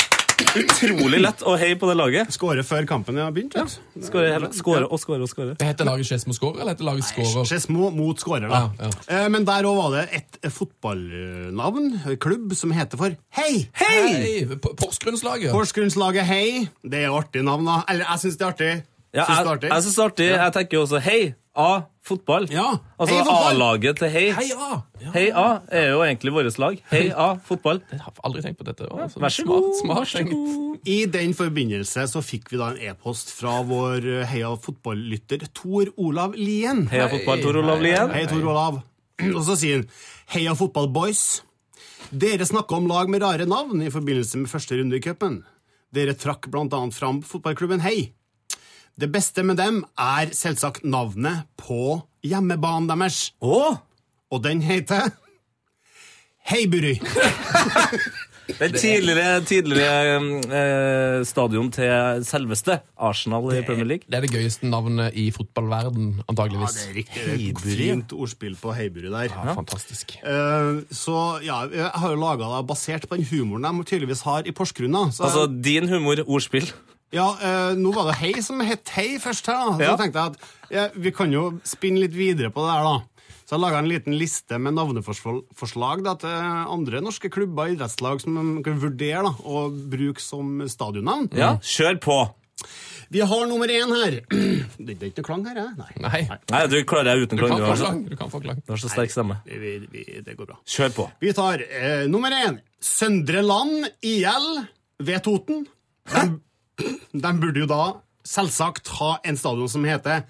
C: Utrolig lett å heie på det laget.
H: Skårer før kampen har begynt. vet du.
C: Skåre hele- skåre og skåre og skåre.
D: Det heter laget Skedsmo Skårer, eller heter laget Skårer?
H: Skedsmo mot Skårer, da.
D: Ja,
H: Eh, Men der òg var det et fotballnavn, en klubb, som heter for Hei!
D: Hei! P- Porsgrunnslaget.
H: Porsgrunnslaget Hei. Det er jo artig navn, da. Eller jeg syns det er artig.
C: Ja,
H: Syns
C: jeg,
H: det er
C: jeg
H: artig.
C: synes det er artig. Jeg tenker jo også hei, A, fotball.
H: Ja,
C: Altså
H: hei, fotball.
C: A-laget til hei.
D: Hei, ja! ja.
C: Hei A er jo egentlig vårt lag. Hei A, fotball.
D: Jeg har aldri tenkt på dette. Altså,
C: Vær så god.
D: Smart,
C: vær så
D: smart tenkt.
C: god.
H: I den forbindelse så fikk vi da en e-post fra vår eh, heia fotballytter Tor Olav Lien.
C: Heia fotball, Tor Olav Lien.
H: Hei, Tor Olav. Og så sier han Heia fotball, boys. Dere snakka om lag med rare navn i forbindelse med første runde i cupen. Dere trakk blant annet fram fotballklubben Hei. Det beste med dem er selvsagt navnet på hjemmebanen deres,
C: Å!
H: og den heter Heibury.
C: Det er tidligere, tidligere eh, stadion til selveste Arsenal i Premier League.
D: Det er det gøyeste navnet i fotballverden,
H: Ja,
D: antageligvis.
H: det er riktig. Det er et Fint ordspill på Heiburu der.
D: Fantastisk.
H: Eh, så ja, jeg har jo laga det basert på den humoren de tydeligvis har i Porsgrunn. da. Så,
C: Altså din humor, ordspill.
D: Mm.
H: ja, eh, nå var det Hei som het Hei først her, da. Så
C: Ja.
H: tenkte jeg at ja, vi kan jo spinne litt videre på det her, da. Så jeg laga en liten liste med navneforslag da, til andre norske klubber og idrettslag som man kan vurdere da, å bruke som stadionnavn.
C: Ja, kjør på!
H: Vi har nummer én her. Det er ikke noe klang her, jeg? Nei.
D: Nei,
C: Nei, du klarer deg uten
D: du
C: klang.
D: kan
C: Du
D: få
C: har så-
D: klang. Du kan få klang.
C: du har så sterk stemme.
H: Vi, vi, det går bra.
C: Kjør på.
H: Vi tar eh, nummer én. Søndre Land IL ved Toten. De, de burde jo da selvsagt ha en stadion som heter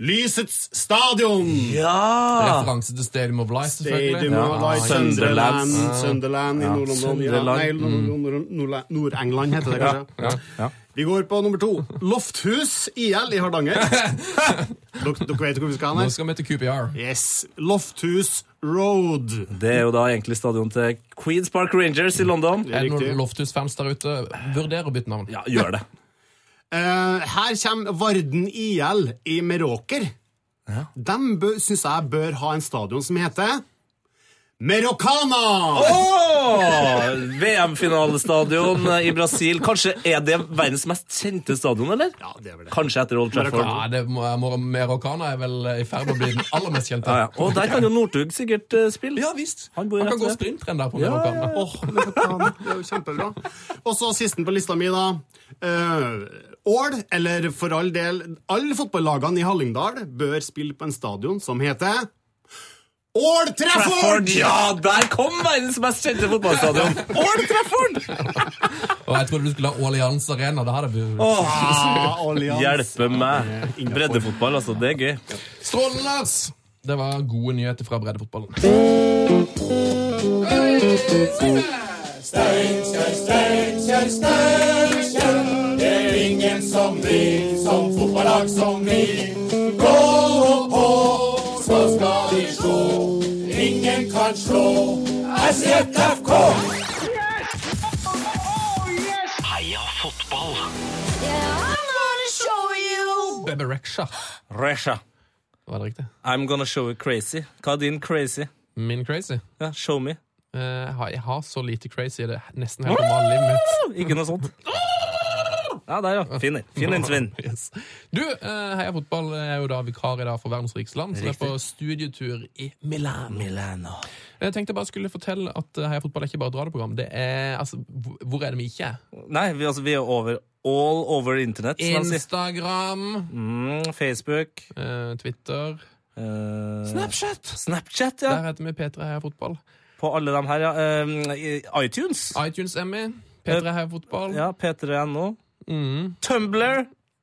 H: Lysets stadion!
C: Ja!
D: Referanse til Stadium of Light,
H: Stadium
D: selvfølgelig.
H: of Light, Sunderland, Sunderland i
C: Ja,
H: Nord-London. Ja,
C: Sunderland.
H: nei,
D: Mm.
H: Nord- Nord- Nord-England heter det kanskje. Vi går på nummer to. Lofthus IL i Hardanger. Dere dere vet hvor vi skal hen?
D: Nå
H: her?
D: skal vi til QPR.
H: Yes. Lofthus Road.
C: Det er jo da egentlig stadion til Queens Park Rangers i London.
H: er
D: Er det
H: riktig.
D: noen Loftus-fans der ute? Vurder å bytte navn.
C: Ja, gjør det.
H: Eh, her kommer Varden IL i Meråker. De bø- syns jeg bør ha en stadion som heter Meroccana!
C: Åh! VM-finalestadion i Brasil. Kanskje er det verdens mest kjente stadion, eller?
H: Ja, det er vel det.
C: Kanskje etter Old Trafford.
D: Ja, det må- må- Merokana er vel i ferd med å bli den aller mest kjente.
C: Ja, ja. Og der kan jo Northug sikkert eh, spille.
D: Ja, visst. Han,
C: Han bor rett
D: kan gå
C: ved.
D: sprintrenn der på
C: Ja,
D: Merokana.
C: ja, ja.
H: Åh, Meroccana. Det er jo kjempebra. Og så sisten på lista mi, da. Eh, Ål, eller for all del Alle fotballagene i Hallingdal bør spille på en stadion som heter Ål Trafford!
C: Ja, der kom verdens mest kjente fotballstadion! Old Trafford!
D: Og jeg trodde du skulle ha Allianz Arena. Det hadde du.
H: Ah, Allianz.
C: Hjelpe meg. Breddefotball, altså. Det er gøy.
D: Strålende, Lars! Det var gode nyheter fra breddefotballen.
B: Heia fotball!
D: Bebe Rexha.
C: Resha.
D: Var det riktig?
C: I'm gonna show you crazy. Hva er din crazy?
D: Min crazy?
C: Ja, show me.
D: Eh, jeg, har, jeg har så lite crazy i det er nesten helt normale livet mitt.
C: Ikke noe sånt. Ja, der, ja. Fin en. Fin en, Svein.
D: Yes. Du, eh, Heia Fotball er jo da vikar i dag for verdens rikeste land, som er på studietur i Milano. Jeg tenkte jeg bare skulle fortelle at eh, Heia Fotball er ikke bare et radioprogram. Det er, altså, hvor- hvor er det vi ikke er?
C: Nei, vi, altså, vi er over all over internett. som de sier.
D: Instagram,
C: Mm, Facebook.
D: eh, Twitter
C: eh,
D: Snapchat!
C: Snapchat,
D: Der
C: ja.
D: heter vi P3 Heia Fotball.
C: På alle de her, ja. Eh, i- iTunes.
D: iTunes Emmy. P3 Heia Fotball.
C: Eh, Ja, p3.no. Tumblr.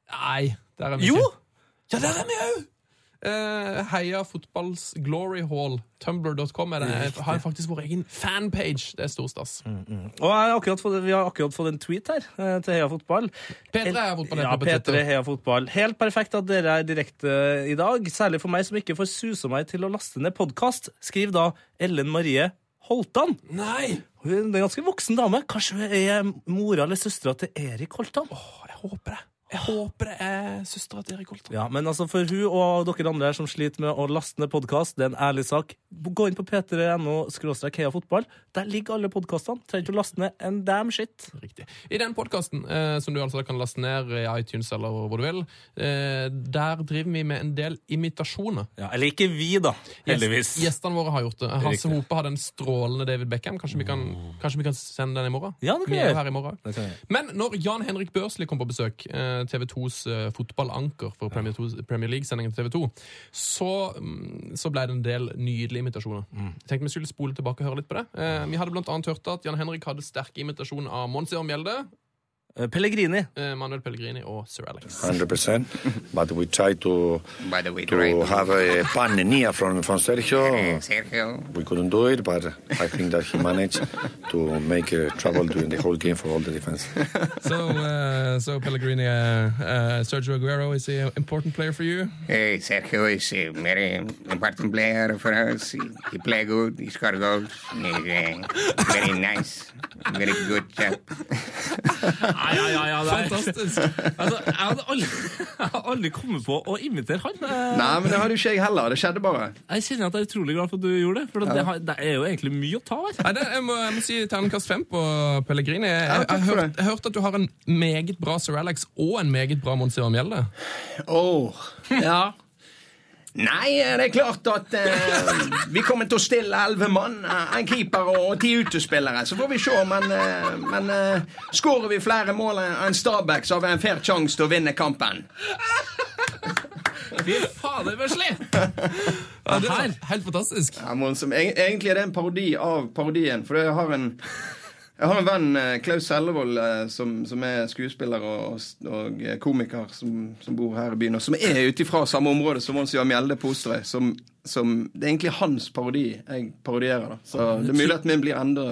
D: Nei, der er vi
C: Jo!
D: ikke. Ja, der er vi òg! heia fotballs glory hall. Tumblr.com er det. Jeg har faktisk vår egen fanpage. Det er storstas.
C: Og jeg har akkurat fått, vi har akkurat fått en tweet her eh, til Heia Fotball.
D: P3 Heia Fotball
C: Ja,
D: heter det på
C: P3
D: Twitter.
C: Heia Fotball. Helt perfekt at dere er direkte eh, i dag. Særlig for meg som ikke får susa meg til å laste ned podkast. Skriv da Ellen Marie Holtan.
D: Nei!
C: Hun er en ganske voksen dame. Kanskje hun er mora eller søstera til Erik Holtan?
D: Åh, jeg håper det. Jeg håper det er søstera til Erik Holtan.
C: Ja, men altså for hun og dere andre her som sliter med å laste ned podkast, det er en ærlig sak. Gå inn på p3.no skråstrek heia fotball. Der ligger alle podkastene. Trenger ikke å laste ned en damn shit.
D: Riktig. I den podkasten, eh, som du altså kan laste ned i iTunes eller hvor du vil, eh, der driver vi med en del imitasjoner.
C: Ja, eller ikke vi, da. Heldigvis.
D: Gjest- Gjestene våre har gjort det. Hasse
C: riktig. Mm.
D: Hope hadde en strålende David Beckham. Kanskje vi kan, kanskje vi kan sende den i morgen?
C: Ja, det kan
D: vi
C: vi
D: er
C: gjøre.
D: jo her i morgen.
C: Det kan vi gjøre.
D: Men når Jan Henrik Børsli kom på besøk, eh, TV2s eh, fotballanker for Premier, 2 Premier League-sendingen til TV2, så, mm, så ble det en del nydelige imitasjoner. Jeg tenkte vi skulle spole tilbake og høre litt på det. Eh, Vi hadde blant annet hørt at Jan Henrik hadde sterk imitasjon av Monsieur Mjelde.
C: Eh, Pellegrini.
D: eh, Manuel Pellegrini og sir Alex.
I: 100%, but we try to to have a pan near from, from Sergio. We couldn't do it, but I think that he managed to make uh, trouble during the whole game for all the defense.
D: So, uh, so Pellegrini, uh, uh, Sergio Aguero, is he an important player for you?
J: Hey, Sergio is a very important player for us. He, he play good, he score goals. He's uh, very nice, very good chap.
C: Nei, ja, ja, ja, nei.
D: Fantastisk!
C: Altså, jeg hadde aldri, jeg hadde aldri kommet på å imitere han. Eh,
K: Nei, men det hadde jo ikke jeg heller. Det skjedde bare.
C: Jeg kjenner at jeg er utrolig glad for at du gjorde det, for det, har- det er jo egentlig mye å ta av.
D: Nei, det, jeg, må, jeg må si terningkast fem på Pellegrini. Jeg, jeg,
K: takk
D: jeg,
K: for
D: hørte-
K: det.
D: jeg hørte at du har en meget bra sir Alex og en meget bra Monsieur Mjelde.
K: Åh, ja. Nei, det er klart at eh, vi kommer til å stille elleve mann. eh, En keeper og ti utespillere. Så får vi se. Men, eh, men eh, skårer vi flere mål enn Stabæk, så har vi en fair sjanse til å vinne kampen.
D: Fy fader, Vesli! Ja, det er helt fantastisk.
K: Ja, men som, eg- egentlig er det en parodi av parodien. For jeg har en, jeg har en venn, eh, Klaus Hellevold, eh, som, som er skuespiller og, og, og eh, komiker, som, som bor her i byen, og som er ute fra samme område som han som gjør Mjelde på Osterøy. Som, som, det er egentlig hans parodi jeg parodierer. da. Så det er mulig at min blir enda,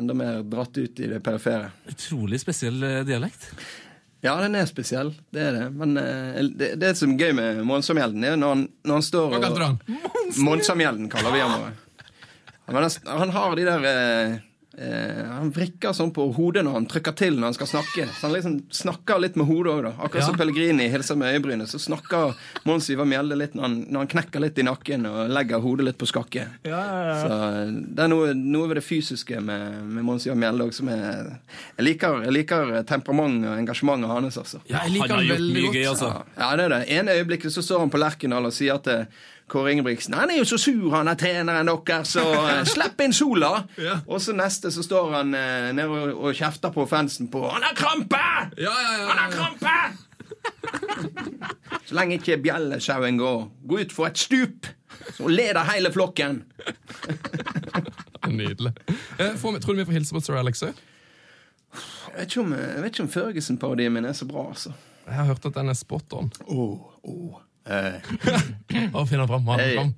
K: enda mer dratt ut i det perifere.
C: Utrolig spesiell eh, dialekt.
K: Ja, den er spesiell. Det er det. Men eh, det, det som er gøy med Monsamjelden, er når han, når han står
D: Hva
K: og
D: kalte du han?
K: Monsamjelden kaller vi ham. bare. Men han, han har de der eh, eh, Han vrikker sånn på hodet når han trykker til når han skal snakke. Så han liksom snakker litt med hodet òg, da. Akkurat som
D: Ja.
K: Pellegrini hilser med øyebrynet, så snakker Mons Ivar Mjelde litt når han, når han knekker litt i nakken og legger hodet litt på skakke. Så eh, det er noe, noe ved det fysiske med, med Mons Ivar Mjelde òg som er jeg liker, jeg liker temperamentet og engasjementet hans, altså.
C: Ja,
D: jeg liker
C: han har
D: han
C: gjort
D: veldig
C: mye
D: godt.
C: gøy, altså.
K: Ja, det er det. En øyeblikk så står han på Lerkendal og sier til Kåre Ingebrigtsen Han er jo så sur, han er treneren deres, så eh, slipp inn sola! Og så neste så står han eh, nede og, og kjefter på fansen på Han har krampe!
D: Ja, ja, ja,
K: Han har
D: ja.
K: krampe! så lenge ikke bjellesauen går, gå ut for et stup, så leder hele flokken.
D: Nydelig. Eh, får vi- Tror du vi får hilse på sir Alex òg?
K: Jeg vet ikke om, jeg vet ikke om Førgesen-parodien min er så bra, altså.
D: Jeg har hørt at den er spot on.
K: Oh, oh. Eh.
D: Mm. Å, finn han fram, ha den
K: Jeg,
D: fram.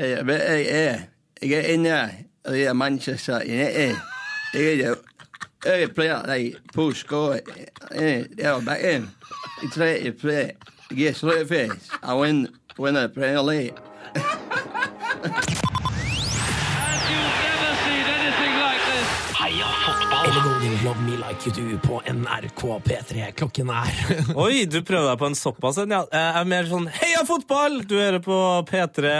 K: jeg, jeg, er, jeg er inne i Manchester United. Jeg er jeg pleier deg på skåret. Jeg er bare en i tre i tre. Jeg er sløvfisk. Jeg win- winner Premier League.
C: Oi, du prøvde deg på en såpass en, ja. Jeg er mer sånn heia fotball! Du hører på P3,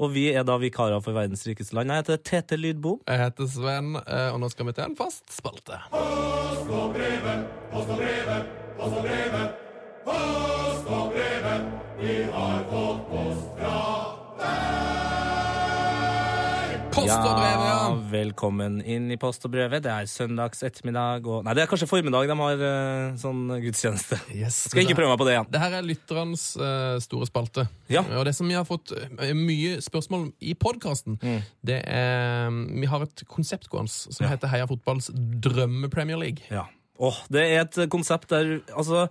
C: og vi er da vikarer for verdens rikeste land. Jeg heter Tete Lydbom.
D: Jeg heter Sven, eh, og nå skal vi til en fast spalte. Post og brev,
C: Ja,
D: ja.
C: velkommen inn i post og brevet. Det er søndags ettermiddag og Nei, det er kanskje formiddag de har eh, sånn gudstjeneste.
D: Yes,
C: Skal ikke prøve meg på det igjen.
D: Det her er lytterens eh, store spalte.
C: Ja.
D: Og det som vi har fått eh, mye spørsmål om i podkasten,
C: Mm.
D: det er Vi har et konsept gående som heter Heia fotballs drømme-Premier League.
C: Ja. Åh, det er et konsept der Altså,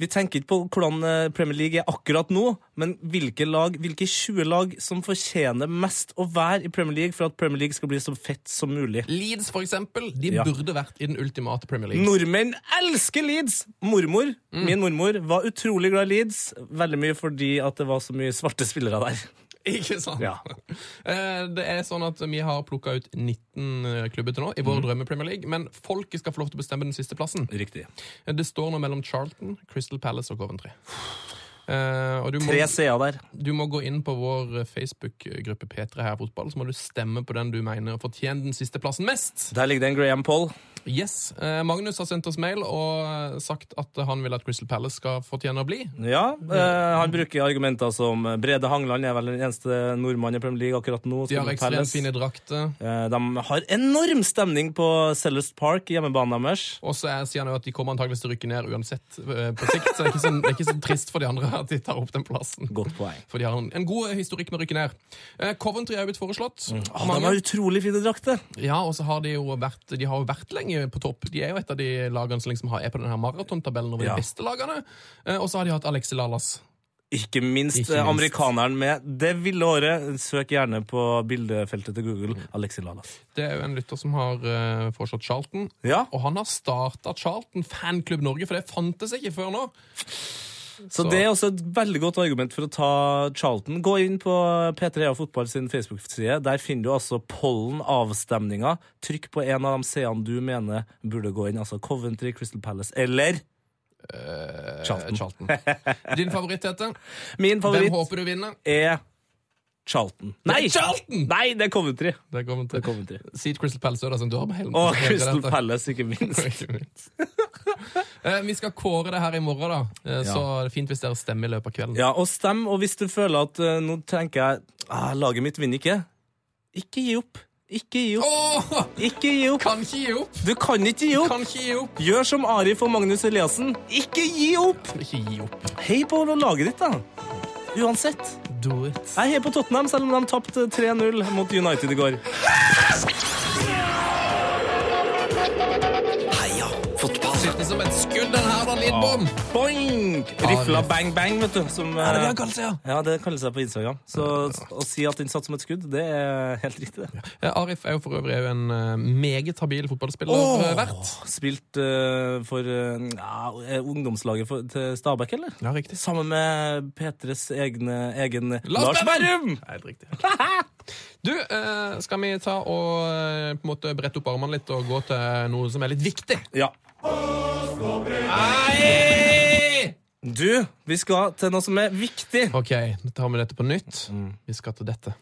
C: vi tenker ikke på hvordan eh, Premier League er akkurat nå, men hvilke lag, hvilke 20 lag som fortjener mest å være i Premier League for at Premier League skal bli så fett som mulig.
D: Leeds, for eksempel, de
C: Ja.
D: burde vært i den ultimate Premier League.
C: Nordmenn elsker Leeds! Mormor, min mormor, var utrolig glad i Leeds. Veldig mye fordi at det var så mye svarte spillere der.
D: Ikke sant?
C: Ja.
D: Eh, Det er sånn at Vi har plukka ut 19 klubber til nå i vår
C: Mm.
D: drømme-Premier League, men folket skal få lov til å bestemme den siste plassen.
C: Riktig.
D: Det står nå mellom Charlton, Crystal Palace og Coventry. Eh, og du må,
C: Tre C-er der.
D: du må gå inn på vår eh, Facebook-gruppe P3 her fotball, så må du stemme på den du mener fortjener den siste plassen mest.
C: Der ligger det en Graham Paul.
D: Yes, eh, Magnus har sendt oss mail og eh, sagt at han vil at Crystal Palace skal fortjene å bli.
C: Ja, eh, Han bruker argumenter som eh, Brede Hangland er vel den eneste nordmannen i Premier League akkurat nå.
D: De har
C: spiller
D: ekstremt
C: Palace.
D: fine drakter.
C: Eh, De har enorm stemning på Sellers Park, hjemmebanen deres.
D: Og så er- sier han jo at de kommer antageligvis til å rykke ned uansett eh, på sikt, så det er, ikke så det er ikke så trist for de andre at de tar opp den plassen.
C: Godt poeng.
D: For de har en, en god historikk med å rykke ned. Eh, Coventry er jo blitt foreslått.
C: Ah, de har utrolig fine drakter.
D: Ja, og så har de jo vært, de har jo vært lenge eh, på topp. De er jo et av de lagene som liksom har- er på denne her maratontabellen over
C: Ja.
D: de beste lagene. Eh, Og så har de hatt Alexi Lalas.
C: Ikke minst,
D: Ikke minst.
C: eh, amerikaneren med det ville året. Søk gjerne på bildefeltet til Google. Alexi Lalas.
D: Det er jo en lytter som har eh, foreslått Charlton. Og han har starta Charlton Fanklubb Norge, for det fantes ikke før nå.
C: Så, det er også et veldig godt argument for å ta Charlton. Gå inn på P3A Fotball sin Facebook-side. Der finner du altså pollen, avstemninger. Trykk på en av de seerne du mener burde gå inn. Altså Coventry, Crystal Palace eller Charlton.
D: Eh, Din favoritt heter
C: Min favoritt
D: Hvem håper du vinner?
C: er Charlton. Nei!
D: Charlton!
C: Nei, det er Coventry.
D: Det er Coventry. Seed Crystal Palace Øda, som du har på hele
C: Og Crystal Palace, ikke minst.
D: Eh, vi skal kåre det her i morgen, da. Eh, Så det er fint hvis dere stemmer i løpet av kvelden.
C: Ja, og stem. Og hvis du føler at eh, nå tenker jeg ah, laget mitt vinner ikke, ikke gi opp. Ikke gi opp. Ikke gi opp.
D: Kan ikke gi opp.
C: Du kan ikke gi opp.
D: Kan ikke gi opp.
C: Gjør som Arif og Magnus Eliassen. Ikke gi opp!
D: Ikke gi opp.
C: Hei på laget ditt, da. Uansett.
D: Do it.
C: Jeg heier på Tottenham, selv om de tapte 3-0 mot United i går.
B: Heia fotball.
D: Sitter som et skudd, den her, da, Lidbom.
C: Boing! Rifla bang bang, vet du. Som,
D: det er det
C: eh,
D: han kaller seg, ja.
C: det kaller seg på Instagram. Så å si at den satt som et skudd, det er helt riktig, det.
D: Eh, Arif er jo for øvrig er jo en eh, meget habil fotballspiller.
C: Åh,
D: eh, Vært.
C: Spilt eh, for eh, ja, eh, ungdomslaget for, til Stabæk, eller?
D: Ja, riktig.
C: Sammen med P3s egne, egen
D: Lars
C: Lars Berrum!
D: Helt riktig. Du, eh, skal vi ta og eh, på en måte brette opp armene litt og gå til noe som er litt viktig?
C: Ja.
D: Nei!
C: Du, vi skal til noe som er viktig.
D: OK, nå tar vi dette på nytt. Vi skal til dette.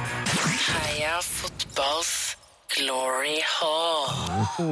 L: Heia fotballs glory hall.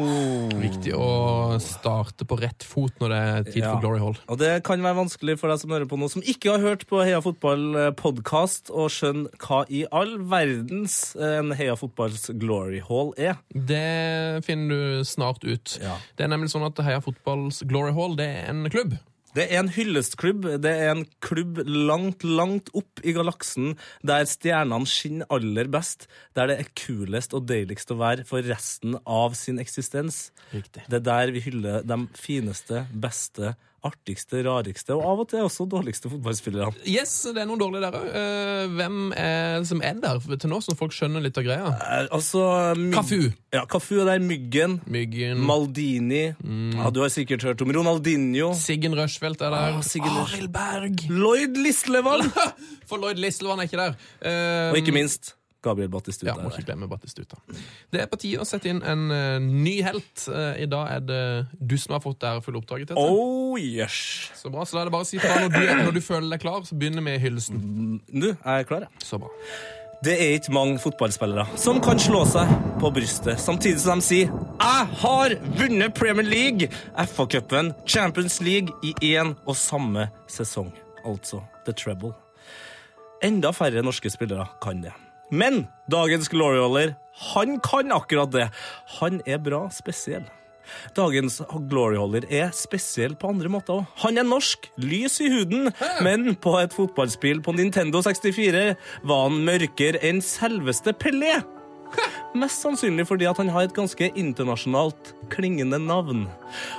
D: Viktig å starte på rett fot når det er tid
C: Ja.
D: for Glory Hall.
C: Og det kan være vanskelig for deg som hører på nå, som ikke har hørt på Heia fotball-podkast, å skjønne hva i all verdens eh, en Heia fotballs glory hall er.
D: Det finner du snart ut. Det er nemlig sånn at Heia Fotballs Glory Hall det er en klubb.
C: Det er en hyllestklubb. Det er en klubb langt, langt opp i galaksen, der stjernene skinner aller best, der det er kulest og deiligst å være for resten av sin eksistens.
D: Riktig.
C: Det er der vi hyller de fineste, beste, artigste, rareste og av og til også dårligste fotballspillerne.
D: Yes, det er noen dårlige der òg. hvem er det som er der til nå, så folk skjønner litt av greia?
C: Er, altså myg-
D: Cafu.
C: Ja, Cafu er der. Myggen.
D: Myggen,
C: Maldini.
D: Mm.
C: Ja, du har sikkert hørt om Ronaldinho.
D: Siggen Rushfeldt er der.
C: Ah, Siggen Rush-
D: Arild Berg!
C: Lloyd Lislevall.
D: For Lloyd Lislevan er ikke der. Eh,
C: Og ikke minst Gabriel Battistuta.
D: ja, må ikke glemme Battistuta. Det er på tide å sette inn en eh, ny helt. Eh, I dag er det du som har fått det ærefulle oppdraget. Tete.
C: Oh yes.
D: Så bra, så da er det bare å si fra når du, når du føler deg klar, så begynner vi i hyllesten.
C: Nå er jeg klar, jeg.
D: Så bra.
C: Det er ikke mange fotballspillere som kan slå seg på brystet, samtidig som de sier 'Jeg har vunnet Premier League, FA-cupen, Champions League i én og samme sesong'. Altså the treble. Enda færre norske spillere kan det. Men dagens Glory Hauler, han kan akkurat det. Han er bra spesiell. Dagens Glory Hauler er spesiell på andre måter òg. Han er norsk, lys i huden, men på et fotballspill på Nintendo 64 var han mørkere enn selveste Pelé. Mest sannsynlig fordi at han har et ganske internasjonalt klingende navn.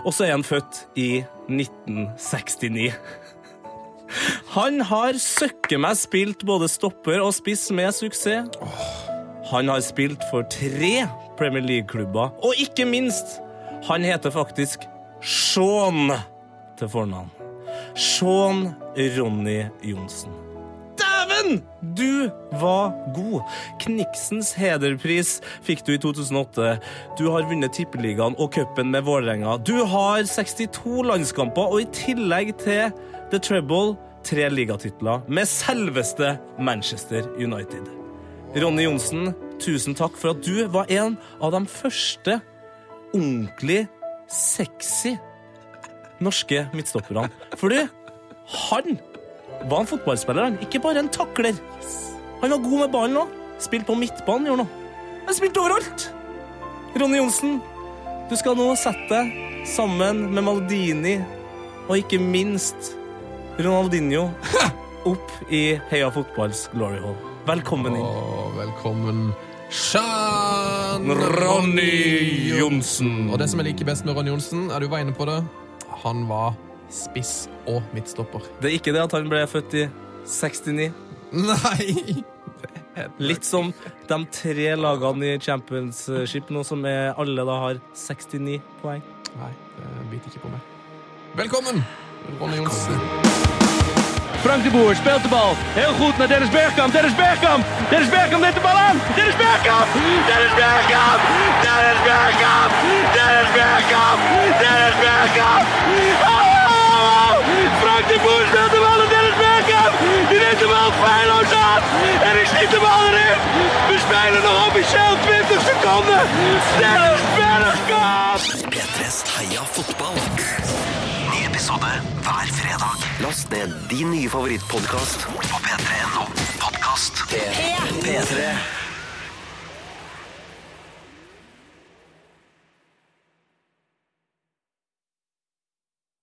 C: Og så er han født i 1969. Han har søkke meg spilt både stopper og spiss med suksess. Han har spilt for tre Premier League-klubber, og ikke minst Han heter faktisk Sean til fornavn. Sean Ronny Johnsen. Dæven! Du var god. Kniksens hederpris fikk du i 2008. Du har vunnet Tippeligaen og cupen med Vålerenga. Du har 62 landskamper, og i tillegg til The Trouble tre ligatitler med selveste Manchester United. Ronny Johnsen, tusen takk for at du var en av de første ordentlig sexy norske midtstopperne. For du, han var en fotballspiller, han. Ikke bare en takler. Han var god med ballen òg. Spilte på midtbanen, gjorde han. også. Han spilte overalt! Ronny Johnsen, du skal nå sette deg sammen med Maldini og ikke minst Ronaldinho opp i Heia fotballs glory hall. Velkommen inn.
D: velkommen. Sjan
C: Ronny
D: Johnsen. Og det som jeg liker best med Ronny Johnsen, er du var inne på det, han var spiss og midtstopper.
C: Det er ikke det at han ble født i 69.
D: Nei!
C: Litt som de tre lagene i championship nå, som er, alle da har 69 poeng.
D: Nei, det biter ikke på meg. Velkommen, Ronny Johnsen.
A: Frank de Boer speelt de bal. Heel goed naar Dennis Bergkamp. Dennis Bergkamp. Dennis Bergkamp neemt de bal aan. Dennis Bergkamp. Dennis Bergkamp. Dennis Bergkamp. Dennis Bergkamp. Dennis Bergkamp. Oh! Frank de Boer speelt de bal naar Dennis Bergkamp. Die neemt de bal feilloos aan. En ik schiet de bal erin. We spelen nog officieel 20 seconden. Dennis Bergkamp.
G: P3s Heia fotball. Ny episode hver fredag. Last ned din nye favorittpodkast på p3.no. Podkast P3.